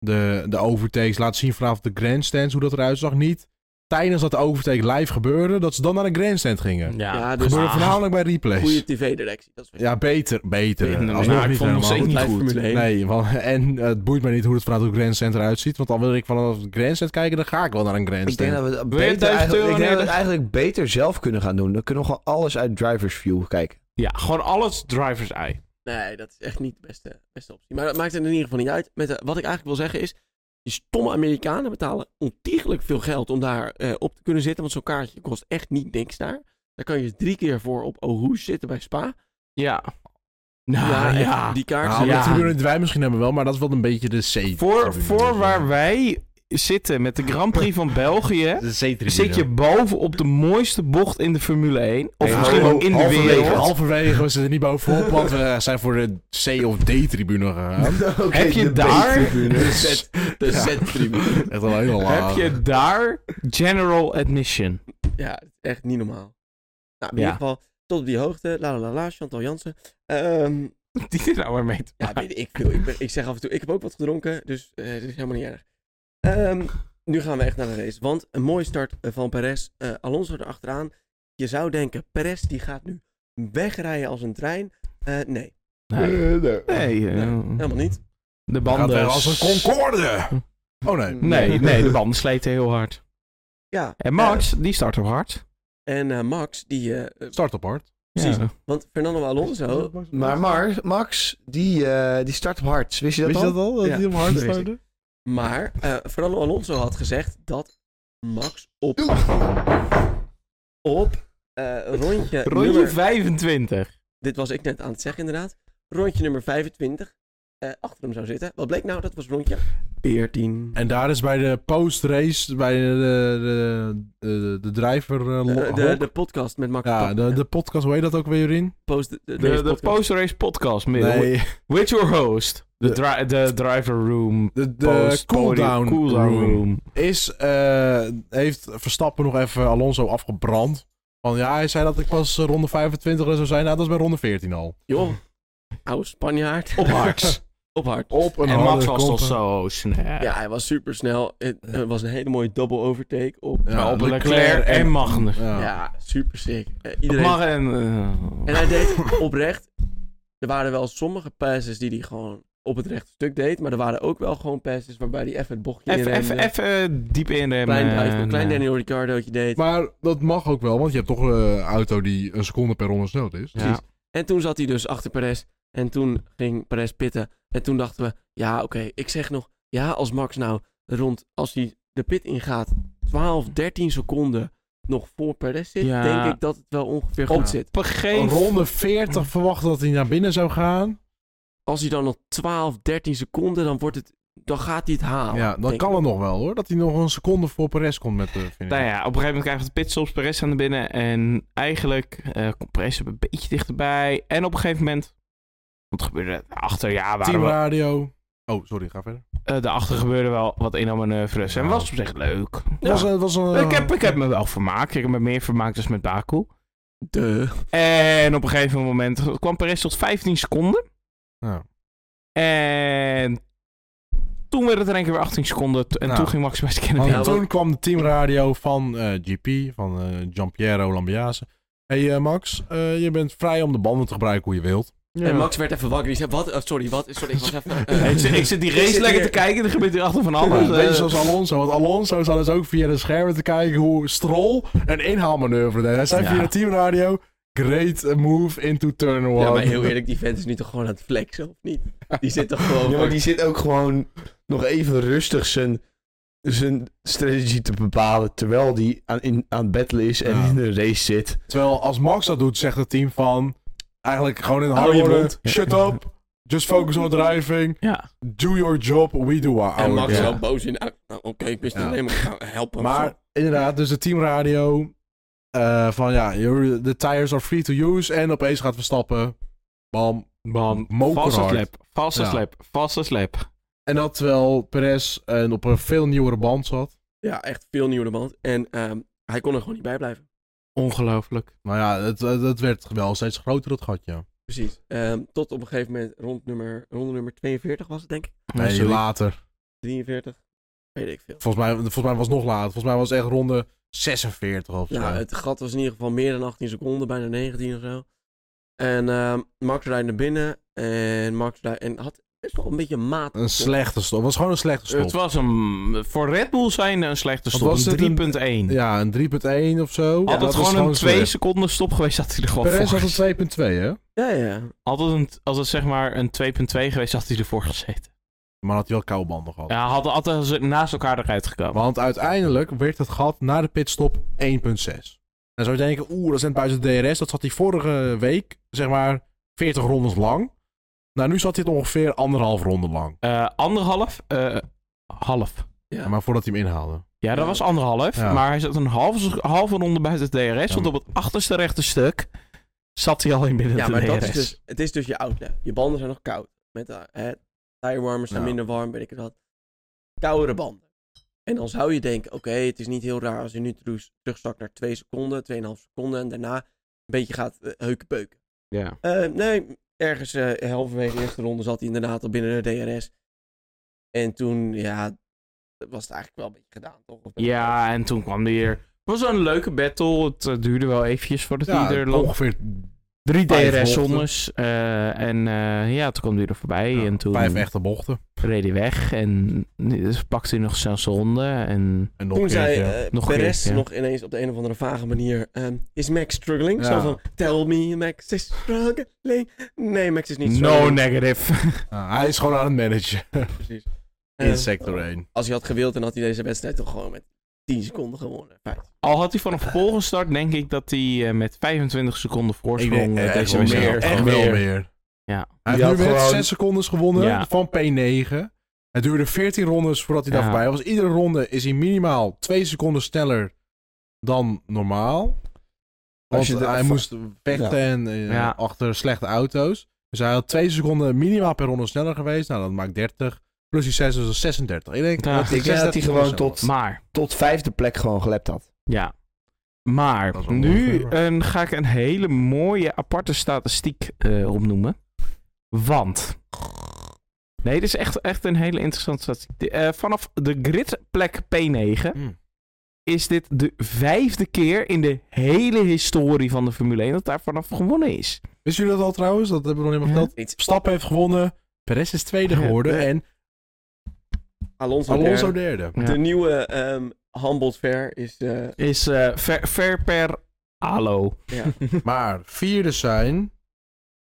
[SPEAKER 1] De, de overtakes laten zien vanaf de grandstands hoe dat eruit zag. Niet tijdens dat de overtake live gebeurde, dat ze dan naar de grandstand gingen.
[SPEAKER 3] Ja.
[SPEAKER 2] Ja,
[SPEAKER 1] Dat
[SPEAKER 2] dus
[SPEAKER 1] gebeurde
[SPEAKER 3] Ah.
[SPEAKER 1] voornamelijk bij replays.
[SPEAKER 2] goede tv-directie. Dat is weer-
[SPEAKER 1] Ja, beter. Beter.
[SPEAKER 2] Beter.
[SPEAKER 1] Alsnog
[SPEAKER 3] Nou, ik
[SPEAKER 1] niet
[SPEAKER 3] vond het nog
[SPEAKER 1] helemaal.
[SPEAKER 3] steeds niet
[SPEAKER 2] Blijft
[SPEAKER 3] goed.
[SPEAKER 2] Formule één.
[SPEAKER 1] Nee, want, en eh, het boeit me niet hoe het vanuit de Grand Center uitziet. Want al wil ik vanaf de Grand Center kijken, dan ga ik wel naar een Grand
[SPEAKER 4] Ik denk
[SPEAKER 1] Center.
[SPEAKER 4] dat we het
[SPEAKER 3] Wil je
[SPEAKER 4] beter,
[SPEAKER 3] 1000
[SPEAKER 4] eigenlijk,
[SPEAKER 3] euro
[SPEAKER 4] ik denk dat we
[SPEAKER 3] nemen?
[SPEAKER 4] het eigenlijk beter zelf kunnen gaan doen. Dan kunnen we gewoon alles uit drivers view kijken.
[SPEAKER 3] Ja, gewoon alles driver's eye.
[SPEAKER 2] Nee, dat is echt niet de beste, beste optie. Maar dat maakt het in ieder geval niet uit. Met, eh, wat ik eigenlijk wil zeggen is, die stomme Amerikanen betalen ontiegelijk veel geld om daar eh, op te kunnen zitten. Want zo'n kaartje kost echt niet niks daar. Daar kan je drie keer voor op Ohoes zitten bij Spa.
[SPEAKER 3] Ja. Nou ja.
[SPEAKER 2] echt, Die kaart.
[SPEAKER 1] Nou,
[SPEAKER 3] Ja.
[SPEAKER 1] de tribune die wij misschien hebben wel, maar dat is wel een beetje de C.
[SPEAKER 3] Voor,
[SPEAKER 1] tribune.
[SPEAKER 3] voor waar wij zitten met de Grand Prix van
[SPEAKER 2] [laughs]
[SPEAKER 3] België...
[SPEAKER 1] De
[SPEAKER 4] [laughs]
[SPEAKER 1] C-tribune.
[SPEAKER 3] zit je boven op de mooiste bocht in de Formule 1. Of
[SPEAKER 4] Hey,
[SPEAKER 3] misschien
[SPEAKER 4] ho-
[SPEAKER 3] wel in de
[SPEAKER 4] halverwege,
[SPEAKER 3] wereld.
[SPEAKER 1] Halverwege we zitten niet bovenop, want we zijn voor de C of D-tribune gegaan.
[SPEAKER 3] Heb je daar...
[SPEAKER 1] [laughs]
[SPEAKER 4] [laughs]
[SPEAKER 1] Dus
[SPEAKER 2] De
[SPEAKER 1] Ja.
[SPEAKER 2] Z-tribune.
[SPEAKER 1] echt al heel laag.
[SPEAKER 3] Heb je daar General Admission?
[SPEAKER 2] Ja, het is echt niet normaal. Nou, in
[SPEAKER 3] Ja.
[SPEAKER 2] ieder geval, tot op die hoogte. La la la la, Chantal Jansen. Ehm,
[SPEAKER 3] [laughs] Die er nou maar mee te
[SPEAKER 2] ja, weet ik veel. Ik, ben- ik zeg af en toe, ik heb ook wat gedronken, dus eh dit is helemaal niet erg. Ehm, nu gaan we echt naar de race. Want een mooie start eh, van Perez. eh Alonso erachteraan. Je zou denken, Perez die gaat nu wegrijden als een trein. Eh, nee,
[SPEAKER 3] Nee,
[SPEAKER 4] nee.
[SPEAKER 3] nee, eh,
[SPEAKER 2] helemaal niet.
[SPEAKER 3] de
[SPEAKER 1] Gaat
[SPEAKER 3] banden...
[SPEAKER 1] weg als een Concorde. Oh nee.
[SPEAKER 3] [laughs] Nee, nee, de banden sleten heel hard.
[SPEAKER 2] Ja.
[SPEAKER 3] En Max, die start ook hard.
[SPEAKER 2] eh, en eh, Max, die... eh, eh,
[SPEAKER 1] Start op hard.
[SPEAKER 2] precies.
[SPEAKER 3] Ja.
[SPEAKER 2] Want Fernando Alonso...
[SPEAKER 4] Maar Mar- Max, die, eh, die start op hard. Wist je dat
[SPEAKER 1] Wist je
[SPEAKER 4] al?
[SPEAKER 1] dat al? Dat
[SPEAKER 2] Ja,
[SPEAKER 1] hij hem hard
[SPEAKER 2] dat weet
[SPEAKER 1] startte?
[SPEAKER 2] Maar eh, Fernando Alonso had gezegd dat Max op... Op eh, rondje,
[SPEAKER 3] Rondje
[SPEAKER 2] nummer
[SPEAKER 3] 25.
[SPEAKER 2] dit was ik net aan het zeggen inderdaad, rondje nummer 25 eh, achter hem zou zitten. Wat bleek nou? Dat was rondje Eh, 14.
[SPEAKER 1] En daar is bij de post-race, bij de, de, de, de driver... eh, lo-
[SPEAKER 2] Eh, de,
[SPEAKER 1] hok.
[SPEAKER 2] de podcast met Max
[SPEAKER 1] ja,
[SPEAKER 2] Verstappen.
[SPEAKER 1] de, de podcast, hoe heet dat ook weer, Jorien?
[SPEAKER 2] post, de, de,
[SPEAKER 3] De,
[SPEAKER 2] deze
[SPEAKER 3] de
[SPEAKER 2] podcast.
[SPEAKER 3] post-race podcast. met-
[SPEAKER 1] Nee,
[SPEAKER 3] With your host. De,
[SPEAKER 1] De-
[SPEAKER 3] dri- de driver room.
[SPEAKER 1] de, de
[SPEAKER 3] post-
[SPEAKER 1] cooldown
[SPEAKER 3] podium- cooldown
[SPEAKER 1] room.
[SPEAKER 3] room.
[SPEAKER 1] Is, eh, heeft Verstappen nog even Alonso afgebrand? Van ja, hij zei dat ik pas eh, ronde 25 er zou zijn. Nou, dat is bij ronde 14 al.
[SPEAKER 2] Joh, oude Spanjaard.
[SPEAKER 3] Op
[SPEAKER 1] [laughs]
[SPEAKER 3] Max.
[SPEAKER 2] [laughs] Op hard.
[SPEAKER 1] Op een
[SPEAKER 3] en Max
[SPEAKER 1] harde
[SPEAKER 3] was
[SPEAKER 1] kop.
[SPEAKER 3] toch zo oh, snel.
[SPEAKER 2] Ja, hij was super snel. Het eh, was een hele mooie double overtake op.
[SPEAKER 1] Ja,
[SPEAKER 3] Maar op Leclerc en Magner.
[SPEAKER 1] Ja.
[SPEAKER 2] Ja, super sick. Eh,
[SPEAKER 3] Op
[SPEAKER 2] iedereen...
[SPEAKER 3] Mag en...
[SPEAKER 2] En hij deed oprecht. Er waren wel sommige passes die hij gewoon op het rechte stuk deed. Maar er waren ook wel gewoon passes waarbij hij even het bochtje
[SPEAKER 3] even,
[SPEAKER 2] inremde.
[SPEAKER 3] even, even eh, diep inremmen.
[SPEAKER 2] Klein, drive,
[SPEAKER 3] en,
[SPEAKER 2] klein
[SPEAKER 3] eh,
[SPEAKER 2] Daniel Ricciardootje deed.
[SPEAKER 1] Maar dat mag ook wel, want je hebt toch een eh, auto die een seconde per ronde snel is.
[SPEAKER 3] Ja.
[SPEAKER 2] En toen zat hij dus achter Perez. En toen ging Perez pitten. En toen dachten we, ja oké, ik zeg nog, ja als Max nou rond, als hij de pit ingaat, 12, 13 seconden nog voor Perez zit,
[SPEAKER 3] Ja.
[SPEAKER 2] denk ik dat het wel ongeveer goed
[SPEAKER 3] Op
[SPEAKER 2] zit.
[SPEAKER 3] een gegeven
[SPEAKER 1] Ronde 40 verwacht dat hij naar binnen zou gaan.
[SPEAKER 2] Als hij dan nog 12, 13 seconden, dan wordt het, dan gaat hij het halen.
[SPEAKER 3] Nou,
[SPEAKER 1] ja, dan
[SPEAKER 2] denk
[SPEAKER 1] kan
[SPEAKER 2] ik.
[SPEAKER 1] het nog wel hoor. Dat hij nog een seconde voor Perez komt met de finish.
[SPEAKER 3] Nou ja, op een gegeven moment krijgt het pitstops Perez aan de binnen. En eigenlijk eh komt Perez er een beetje dichterbij. En op een gegeven moment... Wat gebeurde er achter? Ja, waren
[SPEAKER 1] Team
[SPEAKER 3] we,
[SPEAKER 1] Radio. Oh, sorry, ga verder.
[SPEAKER 3] eh, daarachter gebeurde wel wat inhaalmanoeuvres. En
[SPEAKER 1] Ja.
[SPEAKER 3] was op zich leuk. Ja.
[SPEAKER 1] Was een, was een, eh,
[SPEAKER 3] ik, heb, ik heb me wel vermaakt. Ik heb me meer vermaakt dan met Baku.
[SPEAKER 2] Duh.
[SPEAKER 3] En op een gegeven moment kwam Perez tot 15 seconden. [laughs]
[SPEAKER 1] Ja.
[SPEAKER 3] En toen werd het er een keer weer 18 seconden. t- En
[SPEAKER 1] Ja.
[SPEAKER 3] toen ging Max best kennen.
[SPEAKER 1] Want
[SPEAKER 2] Ja,
[SPEAKER 1] toen
[SPEAKER 2] want-
[SPEAKER 1] kwam de teamradio van eh, GP, van eh Giampiero Lambiase. Hé hey, eh, Max, eh, je bent vrij om de banden te gebruiken hoe je wilt.
[SPEAKER 2] En Max werd even wakker. Die zei, wat? Oh, sorry, wat? Sorry, ik was
[SPEAKER 1] [laughs]
[SPEAKER 2] even... eh,
[SPEAKER 3] ik, zit, ik zit die race
[SPEAKER 2] zit
[SPEAKER 3] lekker
[SPEAKER 2] hier-
[SPEAKER 3] te kijken. Er gebeurt hier achter van
[SPEAKER 1] Een
[SPEAKER 3] alles.
[SPEAKER 1] beetje
[SPEAKER 3] Eh,
[SPEAKER 1] zoals Alonso. Want Alonso zat dus ook via de schermen te kijken hoe Stroll een inhaalmanoeuvre deed. Hij zei
[SPEAKER 3] Ja.
[SPEAKER 1] via de teamradio, great move into turn one.
[SPEAKER 2] Ja, maar heel eerlijk, die vent is nu toch gewoon aan het flexen, of niet? Die
[SPEAKER 1] [laughs]
[SPEAKER 2] zit toch gewoon...
[SPEAKER 4] Ja, maar die zit ook gewoon nog even rustig zijn, zijn strategie te bepalen. Terwijl die aan, in, aan het battlen is en
[SPEAKER 1] Ja.
[SPEAKER 4] in de race zit.
[SPEAKER 1] Terwijl als Max dat doet, zegt het team van... Eigenlijk gewoon in
[SPEAKER 4] Hou je
[SPEAKER 1] harde woorden.
[SPEAKER 4] mond.
[SPEAKER 1] Shut up. Just focus on driving.
[SPEAKER 3] Ja.
[SPEAKER 1] Do your job. We do our
[SPEAKER 2] en
[SPEAKER 1] own
[SPEAKER 2] Max
[SPEAKER 1] job.
[SPEAKER 2] wel boos in. Nou, nou, Oké, ik wist
[SPEAKER 1] Ja.
[SPEAKER 2] niet alleen maar ga helpen.
[SPEAKER 1] Maar inderdaad, dus de teamradio. eh, van ja, you're- the tires are free to use. En opeens gaat Verstappen. Bam.
[SPEAKER 3] Man,
[SPEAKER 1] mokerhard.
[SPEAKER 3] valse slap, valse
[SPEAKER 1] Ja.
[SPEAKER 3] slap, valse slap.
[SPEAKER 1] En dat terwijl Perez eh, op een veel nieuwere band zat.
[SPEAKER 2] Ja, echt veel nieuwe band. En ehm, hij kon er gewoon niet bij blijven.
[SPEAKER 3] Ongelooflijk.
[SPEAKER 1] Nou ja, het, het het werd wel steeds groter, dat gatje.
[SPEAKER 2] Precies. Ehm, tot op een gegeven moment rond nummer, ronde nummer 42 was het, denk ik.
[SPEAKER 1] Nee,
[SPEAKER 3] Sorry.
[SPEAKER 1] later.
[SPEAKER 2] 43. Weet ik veel.
[SPEAKER 1] Volgens mij, volgens mij was het nog later. Volgens mij was het echt ronde 46 of zo.
[SPEAKER 2] Ja, het gat was in ieder geval meer dan 18 seconden, bijna 19 of zo. En ehm, Max rijdt naar binnen. En Max rijdt, en had best wel een beetje maat.
[SPEAKER 1] Een slechte stop. Het was gewoon een slechte stop.
[SPEAKER 3] Het was een, voor Red Bull zijn een slechte
[SPEAKER 1] Wat
[SPEAKER 3] stop.
[SPEAKER 1] was het, een-
[SPEAKER 3] Een 3.1.
[SPEAKER 1] Ja, een 3.1 of zo.
[SPEAKER 3] Had
[SPEAKER 1] dat
[SPEAKER 3] het
[SPEAKER 1] was
[SPEAKER 3] gewoon een 2
[SPEAKER 1] slecht.
[SPEAKER 3] seconden stop geweest, had hij er gewoon
[SPEAKER 1] Perez
[SPEAKER 3] voor
[SPEAKER 1] had
[SPEAKER 3] gezeten.
[SPEAKER 1] een 2.2, hè?
[SPEAKER 2] Ja, ja.
[SPEAKER 3] Had het, een, als het zeg maar een 2.2 geweest, had hij ervoor gezeten.
[SPEAKER 1] Maar had hij wel koude banden gehad.
[SPEAKER 3] Ja, hadden had hadden ze naast elkaar eruit gekomen.
[SPEAKER 1] Want uiteindelijk werd het gat na de pitstop 1.6. En zou je denken, oeh, dat zijn buiten de DRS. Dat zat hij vorige week, zeg maar, 40 rondes lang. Nou, nu zat hij het ongeveer anderhalf ronde lang.
[SPEAKER 3] Eh, anderhalf? eh, half.
[SPEAKER 2] Ja.
[SPEAKER 1] Maar voordat hij hem inhaalde.
[SPEAKER 3] Ja, dat
[SPEAKER 2] Ja.
[SPEAKER 3] was anderhalf.
[SPEAKER 1] Ja.
[SPEAKER 3] Maar hij zat een halve, halve ronde buiten het DRS. want op het achterste rechte stuk zat hij al in [laughs] binnen
[SPEAKER 2] Ja,
[SPEAKER 3] de
[SPEAKER 2] maar
[SPEAKER 3] DRS.
[SPEAKER 2] dat is dus, het is dus je outlap. Je banden zijn nog koud. Met eh, hè, tirewarmers zijn
[SPEAKER 3] Nou.
[SPEAKER 1] Ja.
[SPEAKER 2] minder warm, weet ik het wat. Koudere banden. En dan zou je denken, oké, het is niet heel raar als je nu terug- terugzakt naar 2 seconden, 2,5 seconden en daarna een beetje gaat eh, heukenpeuken.
[SPEAKER 3] ja.
[SPEAKER 2] Eh, nee, ergens eh, halverwege de eerste ronde zat hij inderdaad al binnen de DRS. En toen, ja, was het eigenlijk wel een beetje gedaan, toch? Of-
[SPEAKER 3] ja, en toen kwam hij hier. Het was een leuke battle. Het eh, duurde wel eventjes voordat
[SPEAKER 1] Ja,
[SPEAKER 3] hij er lag.
[SPEAKER 1] ongeveer
[SPEAKER 3] Drie
[SPEAKER 1] vijf
[SPEAKER 3] DRS-zones. en eh, ja, toen kwam hij er voorbij.
[SPEAKER 1] ja,
[SPEAKER 3] en toen
[SPEAKER 1] vijf echte bochten.
[SPEAKER 3] reed hij weg. En eh, pakte hij nog zijn zonde. En
[SPEAKER 1] En nog
[SPEAKER 2] Toen
[SPEAKER 1] een
[SPEAKER 2] zei
[SPEAKER 1] keertje.
[SPEAKER 2] eh,
[SPEAKER 3] Nog een
[SPEAKER 2] Perez
[SPEAKER 3] keertje.
[SPEAKER 2] nog ineens op de een of andere vage manier... ehm, is Max struggling?
[SPEAKER 1] Ja.
[SPEAKER 2] Zo van, tell me Max is struggling. Nee, Max is niet
[SPEAKER 3] no
[SPEAKER 2] struggling.
[SPEAKER 1] [laughs]
[SPEAKER 3] negative.
[SPEAKER 4] eh,
[SPEAKER 1] Ja, Ah, hij is gewoon aan het
[SPEAKER 4] [laughs]
[SPEAKER 1] managen
[SPEAKER 2] Precies.
[SPEAKER 1] in
[SPEAKER 2] Ehm,
[SPEAKER 1] sector 1.
[SPEAKER 2] Als hij had gewild, dan had hij deze wedstrijd toch gewoon met 10 seconden gewonnen. Fijn.
[SPEAKER 3] Al had hij vanaf pol gestart, denk ik dat hij eh, met 25 seconden
[SPEAKER 1] Ik
[SPEAKER 3] voorsprong
[SPEAKER 1] denk
[SPEAKER 3] eh,
[SPEAKER 1] echt
[SPEAKER 3] deze
[SPEAKER 1] wel
[SPEAKER 3] wedstrijd
[SPEAKER 1] meer.
[SPEAKER 3] had
[SPEAKER 1] Echt
[SPEAKER 3] gewonnen.
[SPEAKER 1] wel meer.
[SPEAKER 3] Ja.
[SPEAKER 1] Hij
[SPEAKER 4] Die
[SPEAKER 1] heeft nu
[SPEAKER 4] had
[SPEAKER 1] weer
[SPEAKER 4] gewoon-
[SPEAKER 1] 6 secondes gewonnen
[SPEAKER 3] Ja.
[SPEAKER 1] van P9. Het duurde 14 rondes voordat hij daar
[SPEAKER 3] Ja.
[SPEAKER 1] voorbij was. Iedere ronde is hij minimaal 2 seconden sneller dan normaal. Want
[SPEAKER 4] je de-
[SPEAKER 1] hij moest vechten en, eh,
[SPEAKER 3] Ja.
[SPEAKER 1] achter slechte auto's. Dus hij had 2 seconden minimaal per ronde sneller geweest. Nou, dat maakt 30. Plus die 6 is dat 36. Ik denk
[SPEAKER 3] Ja.
[SPEAKER 1] dat
[SPEAKER 4] Ik denk dat hij
[SPEAKER 1] 36
[SPEAKER 4] gewoon
[SPEAKER 1] was.
[SPEAKER 4] tot,
[SPEAKER 3] Maar,
[SPEAKER 4] tot vijfde plek gewoon gelept had.
[SPEAKER 3] ja. Maar
[SPEAKER 1] Dat is wel
[SPEAKER 3] nu
[SPEAKER 1] ongeveer.
[SPEAKER 3] een, ga ik een hele mooie aparte statistiek eh, opnoemen. Want. Nee, dit is echt, echt een hele interessante statistiek. De- eh, vanaf de gridplek P9
[SPEAKER 1] Hmm.
[SPEAKER 3] is dit de vijfde keer in de hele historie van de Formule 1 dat daar vanaf gewonnen is.
[SPEAKER 1] Wisten jullie dat al trouwens? Dat hebben we nog niet meer verteld.
[SPEAKER 2] Iets
[SPEAKER 1] Stap heeft gewonnen. Perez is tweede
[SPEAKER 3] Ja.
[SPEAKER 1] geworden.
[SPEAKER 2] Ja.
[SPEAKER 1] En
[SPEAKER 2] Alonso,
[SPEAKER 1] Alonso
[SPEAKER 2] derde.
[SPEAKER 1] derde. [laughs]
[SPEAKER 3] Ja.
[SPEAKER 2] De nieuwe ehm Humboldt Fair is... eh,
[SPEAKER 3] Is eh, ver, ver per alo.
[SPEAKER 2] ja.
[SPEAKER 1] Maar vierde zijn.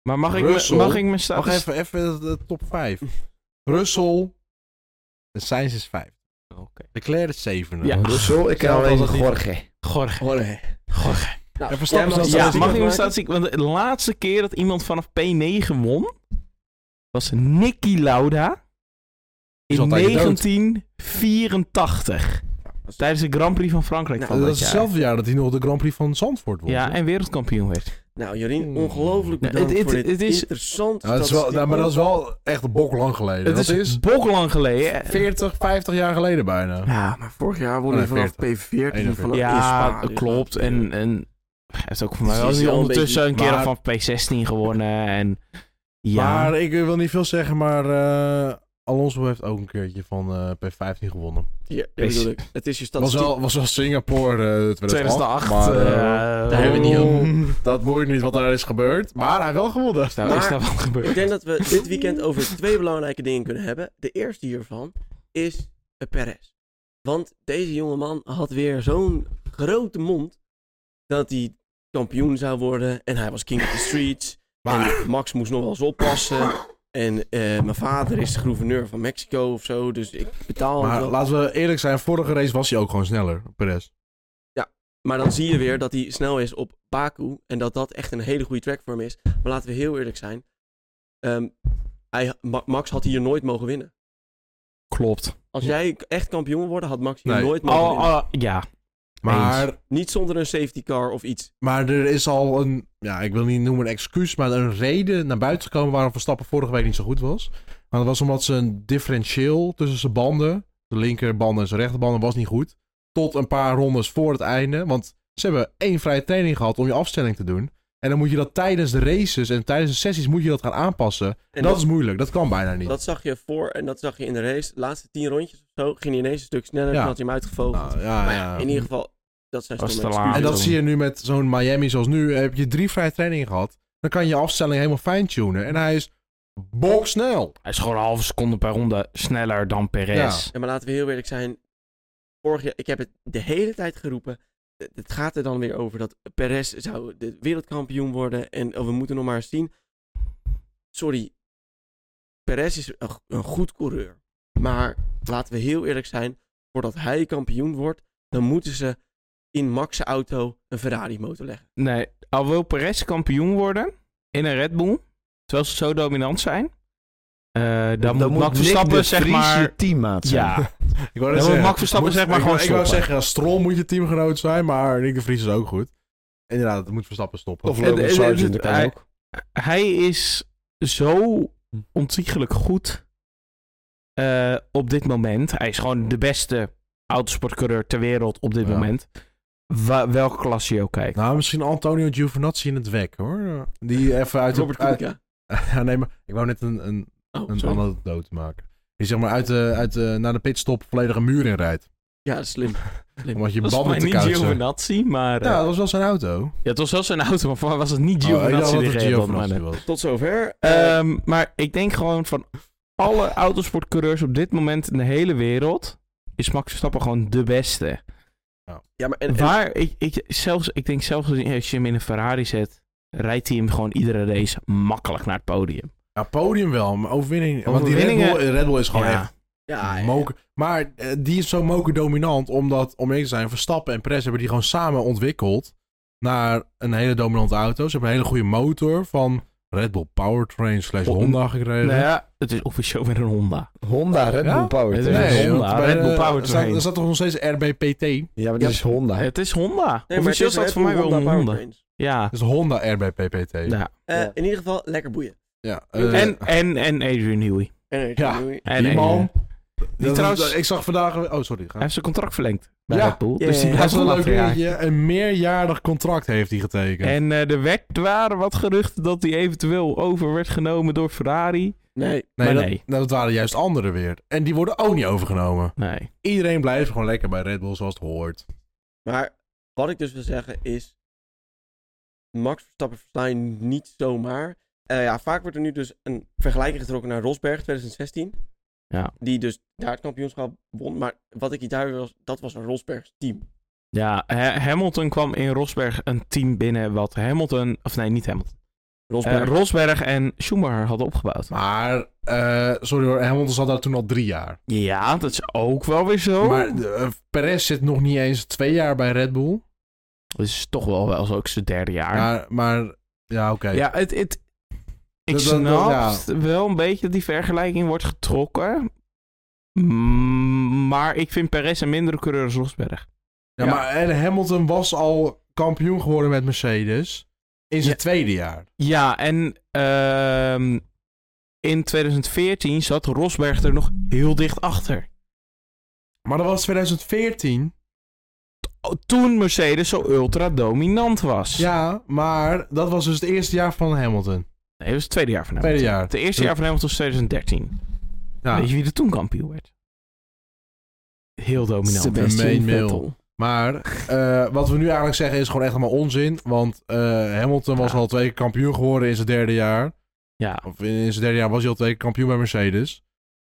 [SPEAKER 3] Maar mag ik, me-
[SPEAKER 1] Russell.
[SPEAKER 3] mag ik mijn
[SPEAKER 1] Wacht
[SPEAKER 3] statistiek...
[SPEAKER 1] even, even de de top 5. Russell. De Sainz is 5.
[SPEAKER 3] Oh, Oké.
[SPEAKER 1] Leclerc is zevende.
[SPEAKER 3] Ja.
[SPEAKER 1] En
[SPEAKER 4] Dus zo, ik kan
[SPEAKER 1] zelfs
[SPEAKER 4] alleen
[SPEAKER 1] als het niet-
[SPEAKER 4] Jorge.
[SPEAKER 3] Jorge.
[SPEAKER 2] Hoor,
[SPEAKER 3] Jorge.
[SPEAKER 2] nou,
[SPEAKER 1] Verstappen
[SPEAKER 2] jij
[SPEAKER 1] zat
[SPEAKER 2] mag-
[SPEAKER 3] Ja,
[SPEAKER 1] zelfs
[SPEAKER 2] statistieken
[SPEAKER 3] mag ik mijn
[SPEAKER 2] maken?
[SPEAKER 3] statistiek... Want de laatste keer dat iemand vanaf P9 won... was Nicky Lauda.
[SPEAKER 1] is
[SPEAKER 3] In
[SPEAKER 1] altijd dood.
[SPEAKER 3] 1984. Tijdens de Grand Prix van Frankrijk
[SPEAKER 2] Nou,
[SPEAKER 3] van
[SPEAKER 1] Dat
[SPEAKER 3] dat,
[SPEAKER 1] is
[SPEAKER 3] jaar.
[SPEAKER 1] hetzelfde jaar dat hij nog de Grand Prix van Zandvoort won.
[SPEAKER 3] Ja, en wereldkampioen werd.
[SPEAKER 2] Nou, Jorien, ongelooflijk
[SPEAKER 3] Nou,
[SPEAKER 2] bedankt
[SPEAKER 3] het- het-
[SPEAKER 2] voor dit
[SPEAKER 3] het is-
[SPEAKER 2] interessant.
[SPEAKER 1] Nou, dat is wel, nou, maar dat is wel echt een bok lang geleden.
[SPEAKER 3] Het
[SPEAKER 1] dat
[SPEAKER 3] is,
[SPEAKER 1] is
[SPEAKER 3] boklang geleden.
[SPEAKER 1] 40, 50 jaar geleden bijna.
[SPEAKER 3] Ja,
[SPEAKER 2] Maar vorig jaar
[SPEAKER 1] won hij vanaf
[SPEAKER 2] P14
[SPEAKER 1] vanaf
[SPEAKER 3] ja klopt. En, en hij heeft ook voor mij
[SPEAKER 2] Dus
[SPEAKER 3] wel
[SPEAKER 2] is
[SPEAKER 3] niet
[SPEAKER 2] wel een
[SPEAKER 3] ondertussen een keer
[SPEAKER 1] maar-
[SPEAKER 3] van P16 gewonnen. En, ja.
[SPEAKER 1] Maar ik wil niet veel zeggen, maar eh, Alonso heeft ook een keertje van eh, P15 gewonnen.
[SPEAKER 2] Ja, dat bedoel ik. Het is je
[SPEAKER 1] Was
[SPEAKER 2] statistiek.
[SPEAKER 1] wel, was wel Singapore eh 2008.
[SPEAKER 3] 2008.
[SPEAKER 1] Maar, eh,
[SPEAKER 2] daar hebben we niet
[SPEAKER 3] over.
[SPEAKER 1] dat moet niet wat daar is gebeurd. Maar hij heeft wel gewonnen.
[SPEAKER 3] Nou, is
[SPEAKER 2] Maar-
[SPEAKER 3] daar wat
[SPEAKER 2] Ik
[SPEAKER 3] gebeurd?
[SPEAKER 2] denk dat we dit weekend over twee belangrijke dingen kunnen hebben. De eerste hiervan is eh, Perez. Want deze jongeman had weer zo'n grote mond dat hij kampioen zou worden. En hij was king of the streets.
[SPEAKER 1] Maar
[SPEAKER 2] En Max moest nog wel eens oppassen. En eh, mijn vader is gouverneur van Mexico of zo. Dus ik betaal hem
[SPEAKER 1] Maar
[SPEAKER 2] wel.
[SPEAKER 1] laten we eerlijk zijn, vorige race was hij ook gewoon sneller, Perez.
[SPEAKER 2] Ja. Maar dan zie je weer dat hij snel is op Baku. En dat dat echt een hele goede track voor hem is. Maar laten we heel eerlijk zijn. Ehm, hij, Ma- Max had hier nooit mogen winnen.
[SPEAKER 3] Klopt.
[SPEAKER 2] Als jij echt kampioen wil worden, had Max hier
[SPEAKER 1] Nee.
[SPEAKER 2] nooit mogen
[SPEAKER 3] Oh,
[SPEAKER 2] winnen.
[SPEAKER 3] oh, ja.
[SPEAKER 1] Maar,
[SPEAKER 2] Niet zonder een safety car of iets.
[SPEAKER 1] maar er is al een, ja, ik wil niet noemen een excuus, maar een reden naar buiten gekomen waarom Verstappen vorige week niet zo goed was. Maar dat was omdat zijn differentieel tussen zijn banden, de linkerbanden en zijn rechterbanden, was niet goed. Tot een paar rondes voor het einde. Want ze hebben één vrije training gehad om je afstelling te doen. En dan moet je dat tijdens de races en tijdens de sessies moet je dat gaan aanpassen.
[SPEAKER 2] En
[SPEAKER 1] dat, is moeilijk, dat kan bijna niet.
[SPEAKER 2] Dat zag je voor en dat zag je in de race. De laatste tien rondjes of zo ging hij ineens een stuk sneller.
[SPEAKER 1] Ja.
[SPEAKER 2] En had hij hem uitgevogeld.
[SPEAKER 1] Nou, ja,
[SPEAKER 2] maar ja,
[SPEAKER 1] ja.
[SPEAKER 2] in ieder geval, dat zijn
[SPEAKER 3] Was
[SPEAKER 2] stomme
[SPEAKER 3] te laat.
[SPEAKER 2] excuses.
[SPEAKER 1] En dat
[SPEAKER 3] Ja.
[SPEAKER 1] zie je nu met zo'n Miami zoals nu. Heb je drie vrije trainingen gehad. Dan kan je je afstelling helemaal fijn-tunen. En hij is boksnel.
[SPEAKER 3] Hij is gewoon een halve seconde per ronde sneller dan Perez.
[SPEAKER 2] Ja, maar laten we heel eerlijk zijn. Vorig jaar, ik heb het de hele tijd geroepen. Het- Het gaat er dan weer over dat Perez zou de wereldkampioen worden. En oh, we moeten nog maar eens zien. Sorry. Perez is een, go- een goed coureur. Maar laten we heel eerlijk zijn. Voordat hij kampioen wordt, dan moeten ze in Max' auto een Ferrari motor leggen.
[SPEAKER 3] Nee, al wil Perez kampioen worden in een Red Bull, terwijl ze zo dominant zijn, eh, dan, moet Max
[SPEAKER 4] Nick
[SPEAKER 3] Verstappen
[SPEAKER 4] de
[SPEAKER 3] zeg
[SPEAKER 4] Vries
[SPEAKER 3] maar...
[SPEAKER 4] je teammaat zijn.
[SPEAKER 3] Ja,
[SPEAKER 1] Ik wou
[SPEAKER 3] Dan
[SPEAKER 1] net
[SPEAKER 3] moet Max Verstappen
[SPEAKER 1] moet-
[SPEAKER 3] zeg maar
[SPEAKER 1] ik
[SPEAKER 3] gewoon
[SPEAKER 1] wou- Ik wou
[SPEAKER 3] stoppen.
[SPEAKER 1] zeggen, ja, Stroll moet je teamgenoot zijn. Maar Nick de Vries is ook goed. Inderdaad, het moet Verstappen stoppen.
[SPEAKER 4] Of
[SPEAKER 3] En- en-
[SPEAKER 4] Logan
[SPEAKER 3] en-
[SPEAKER 4] Sargent, dat kan
[SPEAKER 3] hij-
[SPEAKER 4] ook.
[SPEAKER 3] hij is zo ontiegelijk goed eh, op dit moment. Hij is gewoon de beste autosportcoureur ter wereld op dit
[SPEAKER 1] Ja.
[SPEAKER 3] moment. Wa- welke klasse je ook kijkt.
[SPEAKER 1] nou, misschien Antonio Giovinazzi in het wek, hoor. Die even uit...
[SPEAKER 2] Robert
[SPEAKER 1] uit-
[SPEAKER 2] Kubica.
[SPEAKER 1] [laughs] Ja, nee, maar ik wou net een, een,
[SPEAKER 2] Oh,
[SPEAKER 1] een
[SPEAKER 2] sorry.
[SPEAKER 1] anekdote maken. Die zeg maar uit de, uit de, naar de pitstop volledig een muur in rijdt.
[SPEAKER 2] Ja, dat is
[SPEAKER 3] [laughs]
[SPEAKER 2] slim. slim.
[SPEAKER 1] Omdat je
[SPEAKER 3] Dat was
[SPEAKER 1] banden te
[SPEAKER 3] niet
[SPEAKER 1] koud zijn.
[SPEAKER 3] Giovinazzi, maar... eh,
[SPEAKER 1] Ja,
[SPEAKER 3] ja.
[SPEAKER 1] dat was wel zijn auto.
[SPEAKER 3] het was wel zijn auto, maar voor mij was het niet
[SPEAKER 1] Oh, ik dacht
[SPEAKER 3] Giovinazzi
[SPEAKER 1] dat
[SPEAKER 3] die
[SPEAKER 1] het
[SPEAKER 3] reed.
[SPEAKER 1] Giovinazzi was.
[SPEAKER 2] Tot zover. Eh,
[SPEAKER 3] Ehm, maar ik denk gewoon van alle autosportcoureurs op dit moment in de hele wereld is Max Verstappen gewoon de beste.
[SPEAKER 2] ja, maar en, en-
[SPEAKER 3] Waar ik, ik, zelfs, ik denk zelfs als je hem in een Ferrari zet, rijdt hij hem gewoon iedere race makkelijk naar het podium.
[SPEAKER 1] Ja, podium wel, maar overwinning. Want die Red
[SPEAKER 3] Overwinningen-
[SPEAKER 1] Bull, Red Bull is gewoon
[SPEAKER 3] Oh, Ja.
[SPEAKER 1] echt
[SPEAKER 2] ja, ja.
[SPEAKER 1] moker. Maar eh, die is zo moker dominant, omdat, om eerlijk te zijn, Verstappen en Perez hebben die gewoon samen ontwikkeld naar een hele dominante auto. Ze hebben een hele goede motor van Red Bull Powertrain slash
[SPEAKER 3] Oh,
[SPEAKER 1] Honda gekregen.
[SPEAKER 3] Nou ja, het is officieel weer een Honda.
[SPEAKER 4] Honda, Red
[SPEAKER 1] Ja?
[SPEAKER 4] Bull Power.
[SPEAKER 3] Nee,
[SPEAKER 4] Train.
[SPEAKER 3] nee. Honda,
[SPEAKER 1] want bij
[SPEAKER 3] Red Bull
[SPEAKER 1] de-
[SPEAKER 3] Powertrain.
[SPEAKER 1] Er staat, er staat toch nog steeds RBPT?
[SPEAKER 4] Ja, maar
[SPEAKER 2] Ja.
[SPEAKER 4] dit is Honda.
[SPEAKER 3] Het is Honda.
[SPEAKER 2] Nee, maar het
[SPEAKER 3] officieel
[SPEAKER 2] is
[SPEAKER 3] staat
[SPEAKER 2] Red
[SPEAKER 3] voor mij
[SPEAKER 2] Bull
[SPEAKER 3] wel een Honda.
[SPEAKER 2] Powertrains.
[SPEAKER 3] Ja.
[SPEAKER 1] Dat is Honda RBPPT. Ja.
[SPEAKER 3] ja.
[SPEAKER 2] Eh,
[SPEAKER 4] Ja.
[SPEAKER 2] In ieder geval, lekker boeien.
[SPEAKER 1] eh,
[SPEAKER 3] en, en, en Adrian Newey.
[SPEAKER 2] En,
[SPEAKER 1] Ja.
[SPEAKER 2] doei.
[SPEAKER 3] En
[SPEAKER 1] die man.
[SPEAKER 3] Adrian.
[SPEAKER 1] dat- dat-
[SPEAKER 3] trouwens-
[SPEAKER 1] ik zag vandaag... Oh, sorry. Ga.
[SPEAKER 3] Hij heeft zijn contract verlengd bij
[SPEAKER 1] Ja.
[SPEAKER 3] Red Bull.
[SPEAKER 2] Ja,
[SPEAKER 3] dus die
[SPEAKER 2] ja,
[SPEAKER 1] Dat is
[SPEAKER 3] blijft
[SPEAKER 1] wel
[SPEAKER 3] nog
[SPEAKER 1] een leuk
[SPEAKER 3] achter jaar.
[SPEAKER 1] dingetje. Een meerjarig contract heeft hij getekend.
[SPEAKER 3] En eh, er werd, waren wat geruchten dat hij eventueel over werd genomen door Ferrari.
[SPEAKER 2] Nee.
[SPEAKER 1] Nee, Oh.
[SPEAKER 3] Maar
[SPEAKER 1] dat,
[SPEAKER 3] nee.
[SPEAKER 1] nou, dat waren juist anderen weer. En die worden ook niet overgenomen.
[SPEAKER 3] Nee.
[SPEAKER 1] Iedereen blijft gewoon lekker bij Red Bull zoals het hoort.
[SPEAKER 2] Maar wat ik dus wil zeggen is. Max Verstappen versla je niet zomaar. Eh, ja, vaak wordt er nu dus een vergelijking getrokken naar Rosberg 2016.
[SPEAKER 3] Ja.
[SPEAKER 2] Die dus daar het kampioenschap won. Maar wat ik niet duidelijk was, dat was een Rosbergs team.
[SPEAKER 3] Ja, Ha- Hamilton kwam in Rosberg een team binnen wat Hamilton, of nee, niet Hamilton. Eh,
[SPEAKER 2] Rosberg.
[SPEAKER 3] Rosberg en Schumacher hadden opgebouwd.
[SPEAKER 1] Maar, eh, sorry hoor, Hamilton zat daar toen al drie jaar.
[SPEAKER 3] Ja, dat is ook wel weer zo.
[SPEAKER 1] Maar eh, Perez zit nog niet eens twee jaar bij Red Bull.
[SPEAKER 3] dat is toch wel wel zo ook zijn derde jaar. Ja,
[SPEAKER 1] Maar, maar ja, oké.
[SPEAKER 3] het, het, ik
[SPEAKER 1] Dat- dat-
[SPEAKER 3] snap
[SPEAKER 1] dat- ja.
[SPEAKER 3] wel een beetje dat die vergelijking wordt getrokken. Mm, Maar ik vind Perez een mindere coureur als Rosberg.
[SPEAKER 1] Ja, maar en Hamilton was al kampioen geworden met Mercedes in zijn
[SPEAKER 3] Ja.
[SPEAKER 1] tweede jaar.
[SPEAKER 3] Ja, en ehm, in 2014 zat Rosberg er nog heel dicht achter.
[SPEAKER 1] Maar dat was 2014.
[SPEAKER 3] Oh, Toen Mercedes zo ultra dominant was.
[SPEAKER 1] Ja, maar dat was dus het eerste jaar van Hamilton.
[SPEAKER 3] Nee, dat was het tweede jaar van Hamilton.
[SPEAKER 1] Tweede jaar.
[SPEAKER 3] Het eerste jaar van Hamilton was 2013.
[SPEAKER 1] Ja.
[SPEAKER 3] Weet je wie er toen kampioen werd? Heel dominant.
[SPEAKER 1] Main mail. Maar eh, wat we nu eigenlijk zeggen is gewoon echt allemaal onzin. Want eh, Hamilton was
[SPEAKER 3] Ja.
[SPEAKER 1] al twee keer kampioen geworden in zijn derde jaar.
[SPEAKER 3] Ja,
[SPEAKER 1] Of in, in zijn derde jaar was hij al twee keer kampioen bij Mercedes.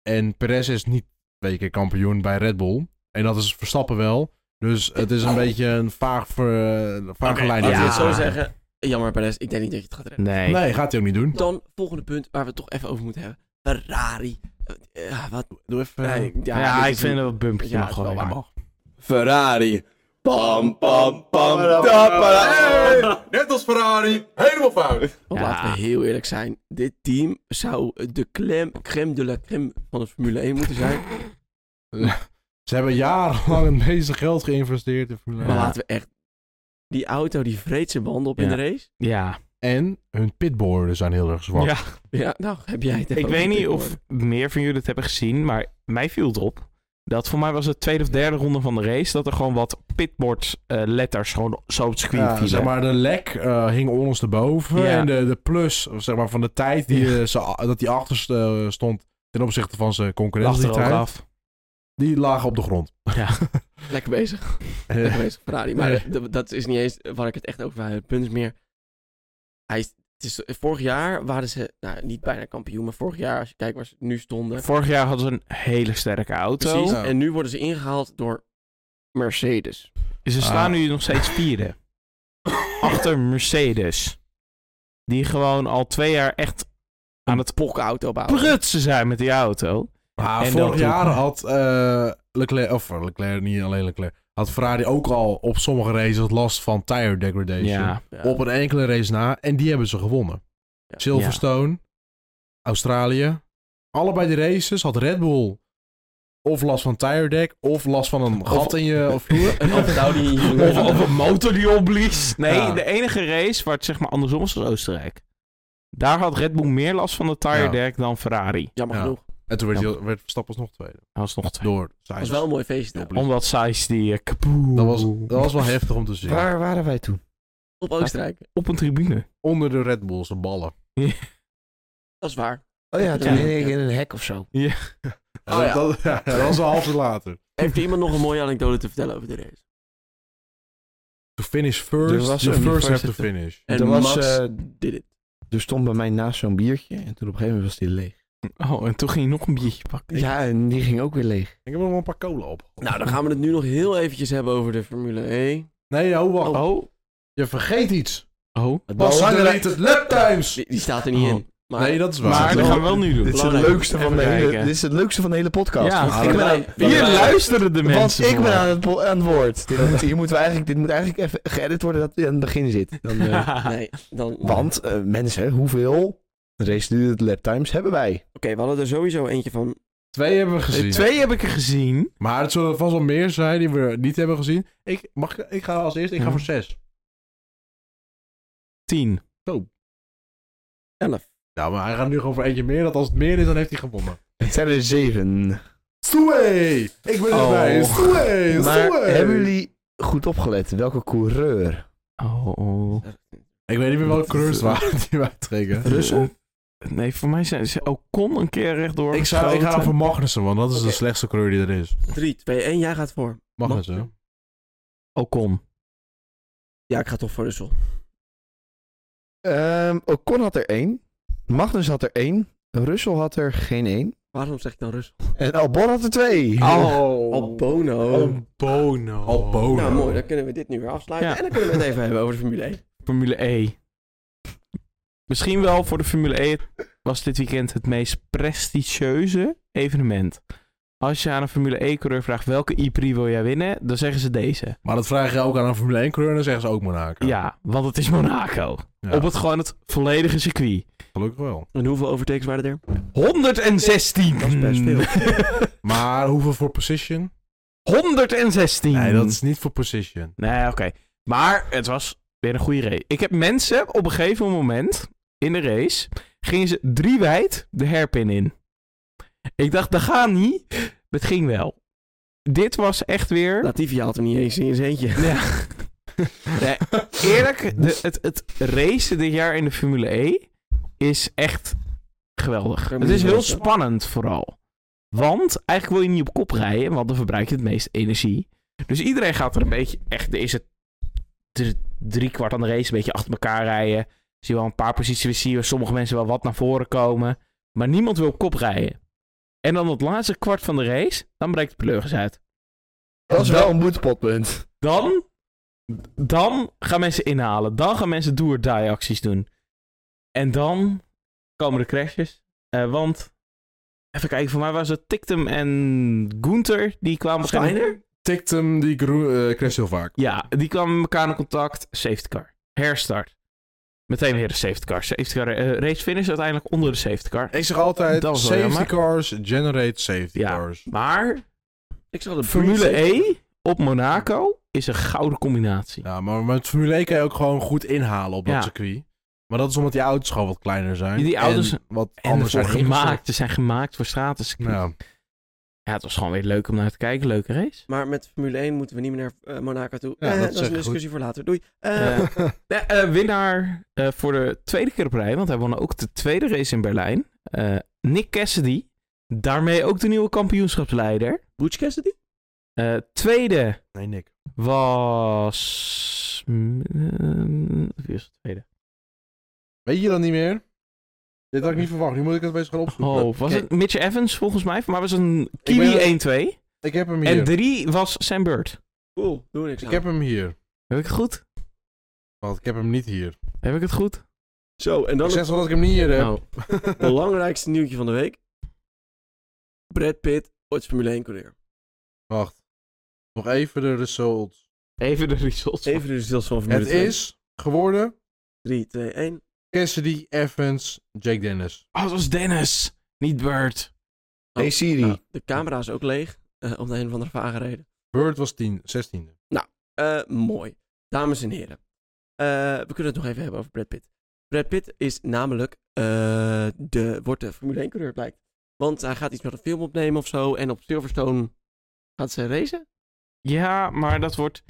[SPEAKER 1] En Perez is niet twee keer kampioen bij Red Bull. En dat is Verstappen wel. Dus het is een beetje een vaag ver, vage lijn.
[SPEAKER 2] Oh. Laten we het zo
[SPEAKER 3] Ja.
[SPEAKER 2] zeggen. Jammer Perez, ik denk niet dat je het gaat redden.
[SPEAKER 3] nee.
[SPEAKER 1] Nee, gaat hij ook niet doen.
[SPEAKER 2] Dan volgende punt waar we het toch even over moeten hebben. Ferrari. Eh, ja, wat,
[SPEAKER 1] Doe even...
[SPEAKER 2] nee,
[SPEAKER 3] Ja,
[SPEAKER 2] dit
[SPEAKER 3] ik
[SPEAKER 2] is
[SPEAKER 3] vind
[SPEAKER 2] een-
[SPEAKER 3] dat bumpertje
[SPEAKER 2] Ja,
[SPEAKER 3] mag
[SPEAKER 2] het is wel
[SPEAKER 3] gewoon.
[SPEAKER 2] waar.
[SPEAKER 3] mag.
[SPEAKER 2] Ferrari.
[SPEAKER 4] Pam, pam, pam, tapara. Hey!
[SPEAKER 1] Net als Ferrari, helemaal fout.
[SPEAKER 2] Want
[SPEAKER 3] Ja.
[SPEAKER 2] Laten we heel eerlijk zijn. Dit team zou de klem, crème de la crème van de Formule 1 moeten zijn.
[SPEAKER 1] Ze hebben jarenlang het meeste geld geïnvesteerd in Formule 1.
[SPEAKER 2] Maar laten we echt... Die auto die vreet zijn banden op in
[SPEAKER 3] Ja.
[SPEAKER 2] de race.
[SPEAKER 3] Ja.
[SPEAKER 1] En hun pitboarden zijn heel erg zwak.
[SPEAKER 3] ja.
[SPEAKER 2] Ja, nou heb jij het
[SPEAKER 3] Ik
[SPEAKER 2] even
[SPEAKER 3] weet
[SPEAKER 2] over
[SPEAKER 3] niet
[SPEAKER 2] dit,
[SPEAKER 3] of
[SPEAKER 2] hoor.
[SPEAKER 3] meer van jullie het hebben gezien, maar mij viel het op. Dat voor mij was het tweede of derde ronde van de race dat er gewoon wat pitboard eh, letters gewoon zo op het screen
[SPEAKER 1] Ja,
[SPEAKER 3] vielen.
[SPEAKER 1] zeg maar, de lek eh, hing ondersteboven.
[SPEAKER 3] Ja.
[SPEAKER 1] En de, de plus of zeg maar, van de tijd die, eh, ze, dat die achter eh, stond ten opzichte van zijn
[SPEAKER 3] Lag er ook
[SPEAKER 1] concurrenten,
[SPEAKER 3] af.
[SPEAKER 1] die lagen op de grond.
[SPEAKER 2] Lekker bezig. Lekker bezig, Ferrari. Maar d- dat is niet eens waar ik het echt over heb. Het punt is meer... Hij is, het is, vorig jaar waren ze... Nou, niet bijna kampioen. Maar vorig jaar, als je kijkt waar ze nu stonden...
[SPEAKER 3] Vorig jaar hadden ze een hele sterke auto.
[SPEAKER 2] Precies.
[SPEAKER 1] Ja.
[SPEAKER 2] En nu worden ze ingehaald door Mercedes.
[SPEAKER 3] Ze staan
[SPEAKER 1] Ah.
[SPEAKER 3] nu nog steeds
[SPEAKER 1] [laughs]
[SPEAKER 3] vierde. Achter Mercedes. Die gewoon al twee jaar echt aan het
[SPEAKER 2] Pokkenauto bouwen.
[SPEAKER 3] prutsen zijn met die auto.
[SPEAKER 1] Maar
[SPEAKER 3] En
[SPEAKER 1] Ah, vorig
[SPEAKER 3] dat
[SPEAKER 1] jaar
[SPEAKER 3] ook.
[SPEAKER 1] had eh, Leclerc, of Leclerc, niet alleen Leclerc, had Ferrari ook al op sommige races last van tire degradation.
[SPEAKER 3] Ja.
[SPEAKER 2] Ja.
[SPEAKER 1] Op een enkele race na. En die hebben ze gewonnen.
[SPEAKER 2] Ja.
[SPEAKER 1] Silverstone, Australië. Allebei die races had Red Bull of last van tire deck, of last van een gat in je of vloer.
[SPEAKER 2] [laughs] Een Alfa die
[SPEAKER 3] Of, of
[SPEAKER 2] [laughs]
[SPEAKER 3] een motor die opblies. Nee,
[SPEAKER 1] Ja.
[SPEAKER 3] de enige race waar het zeg maar andersom was was Oostenrijk. Daar had Red Bull meer last van de tire
[SPEAKER 1] Ja.
[SPEAKER 3] deck dan Ferrari.
[SPEAKER 2] Jammer
[SPEAKER 1] Ja.
[SPEAKER 2] genoeg.
[SPEAKER 1] En toen werd, hij- werd Verstappen nog tweede.
[SPEAKER 3] Dat was nog twee.
[SPEAKER 1] Door
[SPEAKER 2] Het
[SPEAKER 1] Sainz.
[SPEAKER 2] was wel een mooi feestje.
[SPEAKER 1] Ja,
[SPEAKER 3] Omdat Sainz die eh, kapoe
[SPEAKER 1] Dat was, dat was wel heftig om te zien.
[SPEAKER 4] Waar waren wij toen?
[SPEAKER 2] Op Oostenrijk.
[SPEAKER 3] op een tribune.
[SPEAKER 1] Onder de Red Bulls, de ballen.
[SPEAKER 2] Dat is waar.
[SPEAKER 4] Oh ja, toen
[SPEAKER 2] Ja.
[SPEAKER 4] hing ik in een hek of zo.
[SPEAKER 2] Oh ja.
[SPEAKER 1] dat, ja, dat was een half uur later.
[SPEAKER 2] Heeft iemand nog een mooie anekdote te vertellen over de race?
[SPEAKER 1] To finish
[SPEAKER 4] Er
[SPEAKER 1] first,
[SPEAKER 4] was
[SPEAKER 1] the
[SPEAKER 4] een
[SPEAKER 1] first have
[SPEAKER 4] first-
[SPEAKER 1] to finish.
[SPEAKER 2] En
[SPEAKER 4] er,
[SPEAKER 2] Max
[SPEAKER 4] was, eh,
[SPEAKER 2] did it.
[SPEAKER 4] er stond bij mij naast zo'n biertje en toen op een gegeven moment was die leeg.
[SPEAKER 3] Oh, en toen ging hij nog een biertje pakken.
[SPEAKER 4] Ja, en die ging ook weer leeg.
[SPEAKER 1] Ik heb nog wel een paar kolen op.
[SPEAKER 2] Nou, dan gaan we het nu nog heel eventjes hebben over de Formule E. 1.
[SPEAKER 1] Nee, oh, wacht.
[SPEAKER 3] Oh,
[SPEAKER 1] Je vergeet iets.
[SPEAKER 3] oh.
[SPEAKER 2] Het
[SPEAKER 1] Pas
[SPEAKER 2] belang-
[SPEAKER 1] de het laptimes.
[SPEAKER 2] Die, die staat er niet
[SPEAKER 3] Oh.
[SPEAKER 2] in. Maar
[SPEAKER 1] Nee, dat is waar.
[SPEAKER 3] Maar dat
[SPEAKER 4] is wel-
[SPEAKER 3] gaan we wel nu doen.
[SPEAKER 4] Dit is, het
[SPEAKER 2] Belangrijk.
[SPEAKER 4] leukste van de
[SPEAKER 3] Even
[SPEAKER 4] hele,
[SPEAKER 3] kijken.
[SPEAKER 4] dit is het leukste van de hele podcast.
[SPEAKER 3] Ja.
[SPEAKER 4] Want ik
[SPEAKER 2] Ah,
[SPEAKER 4] ben aan-
[SPEAKER 2] Wij-
[SPEAKER 3] Hier
[SPEAKER 2] wij-
[SPEAKER 3] luisteren de
[SPEAKER 4] want
[SPEAKER 3] mensen
[SPEAKER 4] ik
[SPEAKER 3] voor.
[SPEAKER 4] ben aan het, po- aan het woord. Dit, moet, hier moeten we eigenlijk, dit moet eigenlijk even geëdit worden dat het aan het begin
[SPEAKER 3] [laughs]
[SPEAKER 4] zit. Dan, eh,
[SPEAKER 2] [laughs] Nee, dan... Oké,
[SPEAKER 4] Want eh, mensen, hoeveel race het laptimes hebben wij?
[SPEAKER 2] we hadden er sowieso eentje van.
[SPEAKER 1] Twee hebben we gezien.
[SPEAKER 3] Twee heb ik er gezien.
[SPEAKER 1] Maar het zullen vast wel meer zijn die we niet hebben gezien. Mhm. Ik, mag, ik- ik ga als eerst, ik ga
[SPEAKER 3] Ja.
[SPEAKER 1] voor zes.
[SPEAKER 3] Tien.
[SPEAKER 2] Elf.
[SPEAKER 1] Nou, maar hij gaat nu gewoon voor eentje meer. Dat als het meer is, dan heeft hij gewonnen.
[SPEAKER 4] Het zijn er zeven.
[SPEAKER 1] Stoei! Ik ben
[SPEAKER 4] Oh.
[SPEAKER 1] erbij. Stoei!
[SPEAKER 4] Maar
[SPEAKER 1] Stoei!
[SPEAKER 4] hebben jullie goed opgelet welke coureur?
[SPEAKER 3] Oh, oh.
[SPEAKER 1] Ik weet niet meer welke coureurs het waren die wij trekken.
[SPEAKER 4] Russell?
[SPEAKER 3] Eh, Nee, voor mij zijn ze Ocon een keer rechtdoor
[SPEAKER 1] Ik, zou, ik ga
[SPEAKER 3] geschoten.
[SPEAKER 1] voor Magnussen, want dat is de
[SPEAKER 2] Oké.
[SPEAKER 1] slechtste coureur die er is.
[SPEAKER 2] 3, 2, 1. Jij gaat voor.
[SPEAKER 1] Magnussen.
[SPEAKER 3] Ocon.
[SPEAKER 2] Ja, ik ga toch voor Russell.
[SPEAKER 4] Ehm Ocon had er één. Magnus had er één. Russell had er geen één.
[SPEAKER 2] Waarom zeg ik dan Russell?
[SPEAKER 4] En Albon had er twee.
[SPEAKER 3] Oh.
[SPEAKER 2] Albono.
[SPEAKER 3] Bono.
[SPEAKER 1] Albono.
[SPEAKER 2] Nou, mooi. Dan kunnen we dit nu weer afsluiten.
[SPEAKER 3] Ja.
[SPEAKER 2] En dan kunnen we het even hebben over de Formule 1.
[SPEAKER 3] Formule E. Misschien wel voor de Formule E was dit weekend het meest prestigieuze evenement. Als je aan een Formule E-coureur vraagt welke E-prix wil jij winnen, dan zeggen ze deze.
[SPEAKER 1] Maar dat vraag je ook aan een Formule 1 coureur en dan zeggen ze ook Monaco.
[SPEAKER 3] Ja, want het is Monaco.
[SPEAKER 1] Ja,
[SPEAKER 3] Op het gewoon het volledige circuit.
[SPEAKER 1] Gelukkig wel.
[SPEAKER 2] En hoeveel overtakes waren er?
[SPEAKER 3] 116.
[SPEAKER 2] Dat is best veel.
[SPEAKER 3] [laughs]
[SPEAKER 1] Maar hoeveel voor position?
[SPEAKER 3] 116.
[SPEAKER 1] Nee, dat is niet voor position.
[SPEAKER 3] Nee, oké. Maar het was weer een goede race. Ik heb mensen op een gegeven moment in de race gingen ze drie wijd de herpin in. Ik dacht, dat gaat niet. Maar het ging wel. Dit was echt weer.
[SPEAKER 2] Latifi haalt hem niet eens in zijn eentje.
[SPEAKER 3] Ja. [laughs] Nee, eerlijk, de, het, het racen dit jaar in de Formule E is echt geweldig.
[SPEAKER 2] Kan je
[SPEAKER 3] Het is
[SPEAKER 2] niet
[SPEAKER 3] heel
[SPEAKER 2] zeggen.
[SPEAKER 3] spannend vooral. Want eigenlijk wil je niet op kop rijden, want dan verbruik je het meest energie. Dus iedereen gaat er een beetje, echt, er is het drie, drie kwart aan de race, een beetje achter elkaar rijden. Zie je wel een paar posities, weer zie je sommige mensen wel wat naar voren komen. Maar niemand wil op kop rijden. En dan het laatste kwart van de race, dan breekt de pleuris uit.
[SPEAKER 4] Dat is wel een boetepotpunt.
[SPEAKER 3] Dan, dan gaan mensen inhalen. Dan gaan mensen do-or-die acties doen. En dan komen de crashes. Eh, want, even kijken, voor mij was het Tictum en Gunther. Die kwamen op een gegeven moment-
[SPEAKER 1] tikt hem die gro- eh, crash heel vaak.
[SPEAKER 3] Ja, die kwamen met elkaar in contact. Safety car. Herstart. Meteen weer de safety car. Safety car. eh, race finish uiteindelijk onder de safety car.
[SPEAKER 1] Ik zeg altijd,
[SPEAKER 3] Dat was wel
[SPEAKER 1] safety
[SPEAKER 3] jammer.
[SPEAKER 1] cars generate safety
[SPEAKER 3] Ja.
[SPEAKER 1] cars.
[SPEAKER 3] Maar
[SPEAKER 2] Ik zag de
[SPEAKER 3] Formule
[SPEAKER 2] breed-
[SPEAKER 3] E op Monaco is een gouden combinatie.
[SPEAKER 1] Ja, maar met Formule 1 kan je ook gewoon goed inhalen op dat
[SPEAKER 3] Ja.
[SPEAKER 1] circuit. Maar dat is omdat die auto's gewoon wat kleiner zijn.
[SPEAKER 3] Die auto's-
[SPEAKER 1] en wat
[SPEAKER 3] En
[SPEAKER 1] anders
[SPEAKER 3] voor
[SPEAKER 1] zijn
[SPEAKER 3] gemaakt. Ze zijn gemaakt voor stratencircuit.
[SPEAKER 1] Ja.
[SPEAKER 3] Ja, het was gewoon weer leuk om naar te kijken. Leuke race.
[SPEAKER 2] Maar met Formule 1 moeten we niet meer naar eh, Monaco toe.
[SPEAKER 1] Ja,
[SPEAKER 2] Eh,
[SPEAKER 1] dat
[SPEAKER 2] dat,
[SPEAKER 1] zeg
[SPEAKER 2] is een
[SPEAKER 1] ik
[SPEAKER 2] discussie voor later. Doei. Eh, [laughs]
[SPEAKER 3] Eh, nee, eh, winnaar eh, voor de tweede keer op rij, want hij won ook de tweede race in Berlijn. Eh, Nick Cassidy, daarmee ook de nieuwe kampioenschapsleider.
[SPEAKER 2] Butch Cassidy?
[SPEAKER 3] Eh, tweede
[SPEAKER 1] Nee, Nick.
[SPEAKER 3] was. mm, eh, wie is het tweede?
[SPEAKER 1] Weet je dat niet meer? Dit had ik niet verwacht. Nu moet ik het best gaan opzoeken.
[SPEAKER 3] Oh, was het Mitch Evans volgens mij? Maar was een
[SPEAKER 1] ben-
[SPEAKER 3] Kiwi 1-2.
[SPEAKER 1] Ik heb hem
[SPEAKER 3] En
[SPEAKER 1] hier.
[SPEAKER 3] drie was Sam Bird.
[SPEAKER 2] Cool, doe niks
[SPEAKER 1] Ik
[SPEAKER 2] aan.
[SPEAKER 1] heb hem hier.
[SPEAKER 3] Heb ik het goed?
[SPEAKER 1] Want ik heb hem niet hier.
[SPEAKER 3] Heb ik het goed?
[SPEAKER 2] Zo, en dan
[SPEAKER 1] Ik
[SPEAKER 2] het
[SPEAKER 1] zeg wel dat ik hem niet hier heb.
[SPEAKER 3] Oh.
[SPEAKER 2] belangrijkste nieuwtje van de week. Brad Pitt wordt Formule 1 coureur.
[SPEAKER 1] [laughs] Wacht. Nog even de results.
[SPEAKER 3] Even de results.
[SPEAKER 2] Even de resultaten van Formule
[SPEAKER 1] Het is geworden
[SPEAKER 2] 3, 2, 1.
[SPEAKER 1] Cassidy, Evans, Jake Dennis.
[SPEAKER 3] Oh, het was Dennis. Niet Bird.
[SPEAKER 4] Hey Siri.
[SPEAKER 2] Nou, de camera is ook leeg, eh, om de een of andere vage reden.
[SPEAKER 1] Bird was 10, 16e.
[SPEAKER 2] Eh, mooi. Dames en heren. Eh, we kunnen het nog even hebben over Brad Pitt. Brad Pitt is namelijk, eh, de, wordt de Formule 1 coureur blijkt. Want hij gaat iets met een film opnemen of zo. En op Silverstone gaat ze racen.
[SPEAKER 3] Ja, maar dat wordt.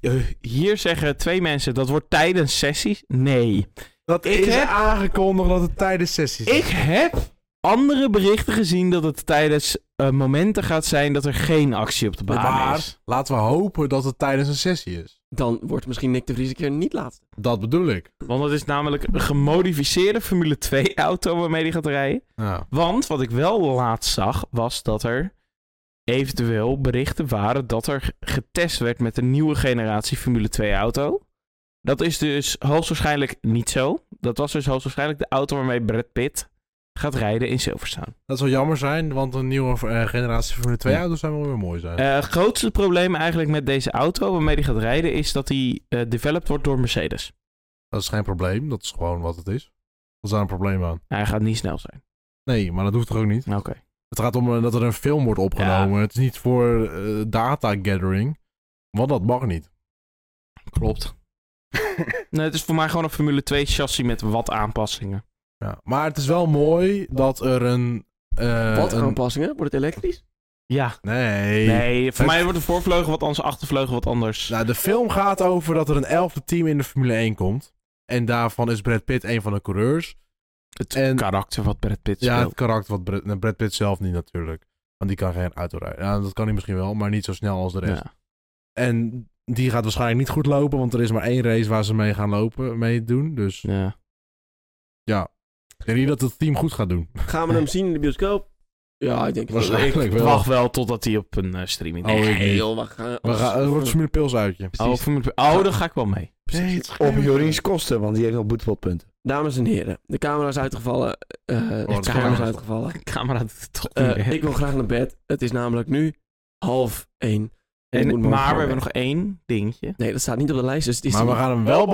[SPEAKER 3] Eh, hier zeggen twee mensen dat wordt tijdens sessies. Nee.
[SPEAKER 1] Dat
[SPEAKER 3] Ik is heb-
[SPEAKER 1] aangekondigd dat het tijdens sessies
[SPEAKER 3] Ik heb andere berichten gezien dat het tijdens eh, momenten gaat zijn dat er geen actie op de baan
[SPEAKER 1] Maar
[SPEAKER 3] is.
[SPEAKER 1] laten we hopen dat het tijdens een sessie is.
[SPEAKER 2] Dan wordt misschien Nick de Vries een keer niet laatste.
[SPEAKER 1] Dat bedoel ik.
[SPEAKER 3] Want het is namelijk een gemodificeerde Formule 2 auto waarmee die gaat rijden.
[SPEAKER 1] Ja.
[SPEAKER 3] Want wat ik wel laatst zag was dat er eventueel berichten waren dat er getest werd met een nieuwe generatie Formule 2 auto. Dat is dus hoogstwaarschijnlijk niet zo. Dat was dus hoogstwaarschijnlijk de auto waarmee Brad Pitt gaat rijden in Silverstone.
[SPEAKER 1] Dat zou jammer zijn, want een nieuwe eh, generatie Formule 2 auto's zijn wel weer mooi zijn.
[SPEAKER 3] Eh, Het grootste probleem eigenlijk met deze auto waarmee hij gaat rijden is dat hij eh, developed wordt door Mercedes.
[SPEAKER 1] Dat is geen probleem, dat is gewoon wat het is. Wat is daar een probleem aan?
[SPEAKER 3] Nou, Hij gaat niet snel zijn.
[SPEAKER 1] Nee, maar dat hoeft toch ook niet?
[SPEAKER 3] Oké.
[SPEAKER 1] Het gaat om eh, dat er een film wordt opgenomen. Het is niet voor eh, data gathering, want dat mag niet.
[SPEAKER 3] Klopt. [laughs] nee, het is voor mij gewoon een Formule 2 chassis met wat aanpassingen.
[SPEAKER 1] Ja. Maar het is wel mooi dat er een... eh,
[SPEAKER 2] Wat
[SPEAKER 1] een-
[SPEAKER 2] aanpassingen? Wordt het elektrisch?
[SPEAKER 3] Ja.
[SPEAKER 1] Nee.
[SPEAKER 3] Nee, voor
[SPEAKER 1] Het-
[SPEAKER 3] mij wordt de voorvleugel wat anders, achtervleugel wat anders.
[SPEAKER 1] Nou, de film gaat over dat er een elfde team in de Formule 1 komt. En daarvan is Brad Pitt een van de coureurs.
[SPEAKER 3] het
[SPEAKER 1] en-
[SPEAKER 3] karakter wat Brad Pitt
[SPEAKER 1] Ja, het
[SPEAKER 3] speelt.
[SPEAKER 1] karakter wat Brad, nou, Brad Pitt zelf niet natuurlijk. Want die kan geen auto rijden. Ja, dat kan hij misschien wel, maar niet zo snel als de rest.
[SPEAKER 3] Ja.
[SPEAKER 1] En die gaat waarschijnlijk niet goed lopen, want er is maar één race waar ze mee gaan lopen, mee doen. Dus
[SPEAKER 3] Ja.
[SPEAKER 1] ik denk niet dat het team goed gaat doen.
[SPEAKER 2] Gaan we hem zien in de bioscoop? Ja, ik denk het wel.
[SPEAKER 1] Waarschijnlijk wel.
[SPEAKER 3] Wacht wel totdat hij op een eh, streaming...
[SPEAKER 1] Oh, ik
[SPEAKER 2] Nee,
[SPEAKER 1] niet.
[SPEAKER 2] joh, we gaan...
[SPEAKER 1] We gaan, het wordt een Formule Pils uitje.
[SPEAKER 3] Oh,
[SPEAKER 2] Precies.
[SPEAKER 3] Formule- oh, daar ga ik wel mee.
[SPEAKER 1] Nee, het is
[SPEAKER 3] [laughs]
[SPEAKER 1] geen-
[SPEAKER 4] Op Jorin's kosten, want die heeft nog boetepotpunten.
[SPEAKER 2] Dames en heren, de camera is uitgevallen. Eh de
[SPEAKER 1] dat Oh, is
[SPEAKER 2] camera is
[SPEAKER 1] wel-
[SPEAKER 2] uitgevallen.
[SPEAKER 3] De camera doet het toch niet
[SPEAKER 2] Eh,
[SPEAKER 3] meer.
[SPEAKER 2] ik wil graag naar bed. Het is namelijk nu half één. En ik moet
[SPEAKER 3] En,
[SPEAKER 2] morgen
[SPEAKER 3] maar
[SPEAKER 2] gewoon
[SPEAKER 3] we
[SPEAKER 2] weg.
[SPEAKER 3] hebben nog één dingetje.
[SPEAKER 2] Nee, dat staat niet op de lijst, dus het is
[SPEAKER 1] Maar we
[SPEAKER 2] niet-
[SPEAKER 1] gaan hem
[SPEAKER 3] Oh,
[SPEAKER 1] wel
[SPEAKER 2] Ah,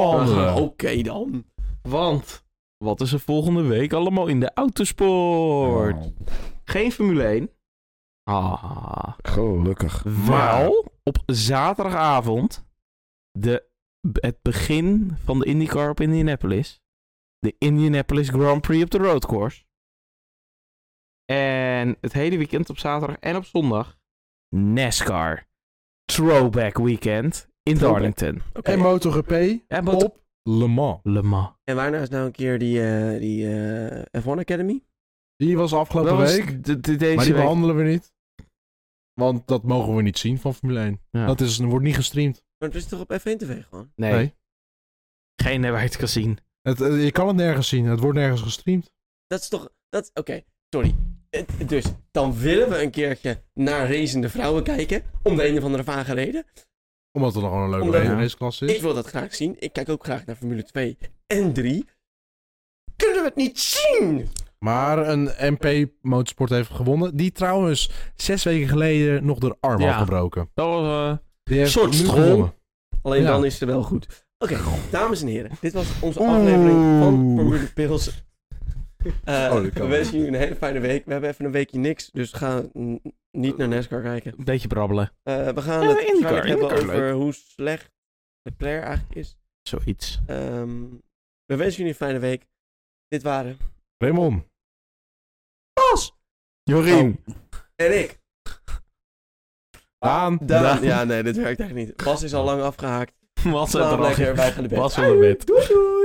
[SPEAKER 2] Oké
[SPEAKER 1] behandelen.
[SPEAKER 2] dan.
[SPEAKER 3] Want wat is er volgende week allemaal in de autosport?
[SPEAKER 1] Oh.
[SPEAKER 3] Geen Formule 1. Ah,
[SPEAKER 4] Gelukkig.
[SPEAKER 3] wel op zaterdagavond de, het begin van de IndyCar op Indianapolis. De Indianapolis Grand Prix op de road course. En het hele weekend op zaterdag en op zondag NASCAR. Throwback weekend in
[SPEAKER 2] Throwback.
[SPEAKER 3] Darlington.
[SPEAKER 2] Oké.
[SPEAKER 1] En MotoGP
[SPEAKER 3] En wat-
[SPEAKER 1] op Le Mans.
[SPEAKER 3] Le Mans.
[SPEAKER 2] En waarna is nou een keer die, eh, die eh, F1 Academy?
[SPEAKER 1] Die was afgelopen
[SPEAKER 3] Dat was
[SPEAKER 1] week.
[SPEAKER 3] de- de- deze
[SPEAKER 1] Maar die
[SPEAKER 3] week.
[SPEAKER 1] behandelen we niet. Want dat mogen we niet zien van Formule 1.
[SPEAKER 3] Ja.
[SPEAKER 1] Dat is, wordt niet gestreamd.
[SPEAKER 2] Maar het is toch op F1 TV gewoon?
[SPEAKER 3] Nee,
[SPEAKER 1] Nee.
[SPEAKER 3] geen eh, waar je het kan zien.
[SPEAKER 1] Het, eh, je kan het nergens zien. Het wordt nergens gestreamd.
[SPEAKER 2] Dat is toch... Dat... Oké, sorry. Het- Dus, dan willen we een keertje naar racende vrouwen kijken. Om de een of andere vage reden.
[SPEAKER 1] Omdat het nog gewoon een
[SPEAKER 2] Omdat-
[SPEAKER 1] leuke raceklas is.
[SPEAKER 2] Ik wil dat graag zien. Ik kijk ook graag naar Formule 2 en 3. Kunnen we het niet zien?
[SPEAKER 1] Maar een MP Motorsport heeft gewonnen. Die trouwens zes weken geleden nog de arm
[SPEAKER 3] Ja.
[SPEAKER 1] had gebroken.
[SPEAKER 3] Dat was, eh,
[SPEAKER 1] Die heeft
[SPEAKER 2] Soort
[SPEAKER 1] nu
[SPEAKER 2] school.
[SPEAKER 1] gewonnen.
[SPEAKER 2] Alleen
[SPEAKER 1] Ja.
[SPEAKER 2] dan is het wel goed. Oké, dames en heren. Dit was onze aflevering van
[SPEAKER 3] Oeh.
[SPEAKER 2] Formule Pils. Eh,
[SPEAKER 1] Oh, dat
[SPEAKER 2] we
[SPEAKER 1] kan.
[SPEAKER 2] wensen jullie een hele fijne week. We hebben even een weekje niks, dus ga mm, niet naar NASCAR kijken.
[SPEAKER 3] een beetje brabbelen.
[SPEAKER 2] Eh, we gaan
[SPEAKER 3] Ja,
[SPEAKER 2] het
[SPEAKER 3] IndyCar,
[SPEAKER 2] waarschijnlijk hebben
[SPEAKER 3] IndyCar,
[SPEAKER 2] over hoe slecht Leclerc eigenlijk is.
[SPEAKER 3] Zoiets. [laughs]
[SPEAKER 2] Ehm, we wensen jullie een fijne week. Dit waren
[SPEAKER 1] Raymond.
[SPEAKER 2] Bas
[SPEAKER 4] Jorien.
[SPEAKER 3] Oh.
[SPEAKER 2] en ik.
[SPEAKER 1] Daan.
[SPEAKER 2] Daan.
[SPEAKER 3] Daan.
[SPEAKER 2] Ja, nee, dit werkt echt niet. Bas is al lang afgehaakt.
[SPEAKER 3] Wat
[SPEAKER 2] Slaap Nou, lekker, wij gaan de bed. [laughs]
[SPEAKER 3] Bas van de bed.
[SPEAKER 2] Doei doei.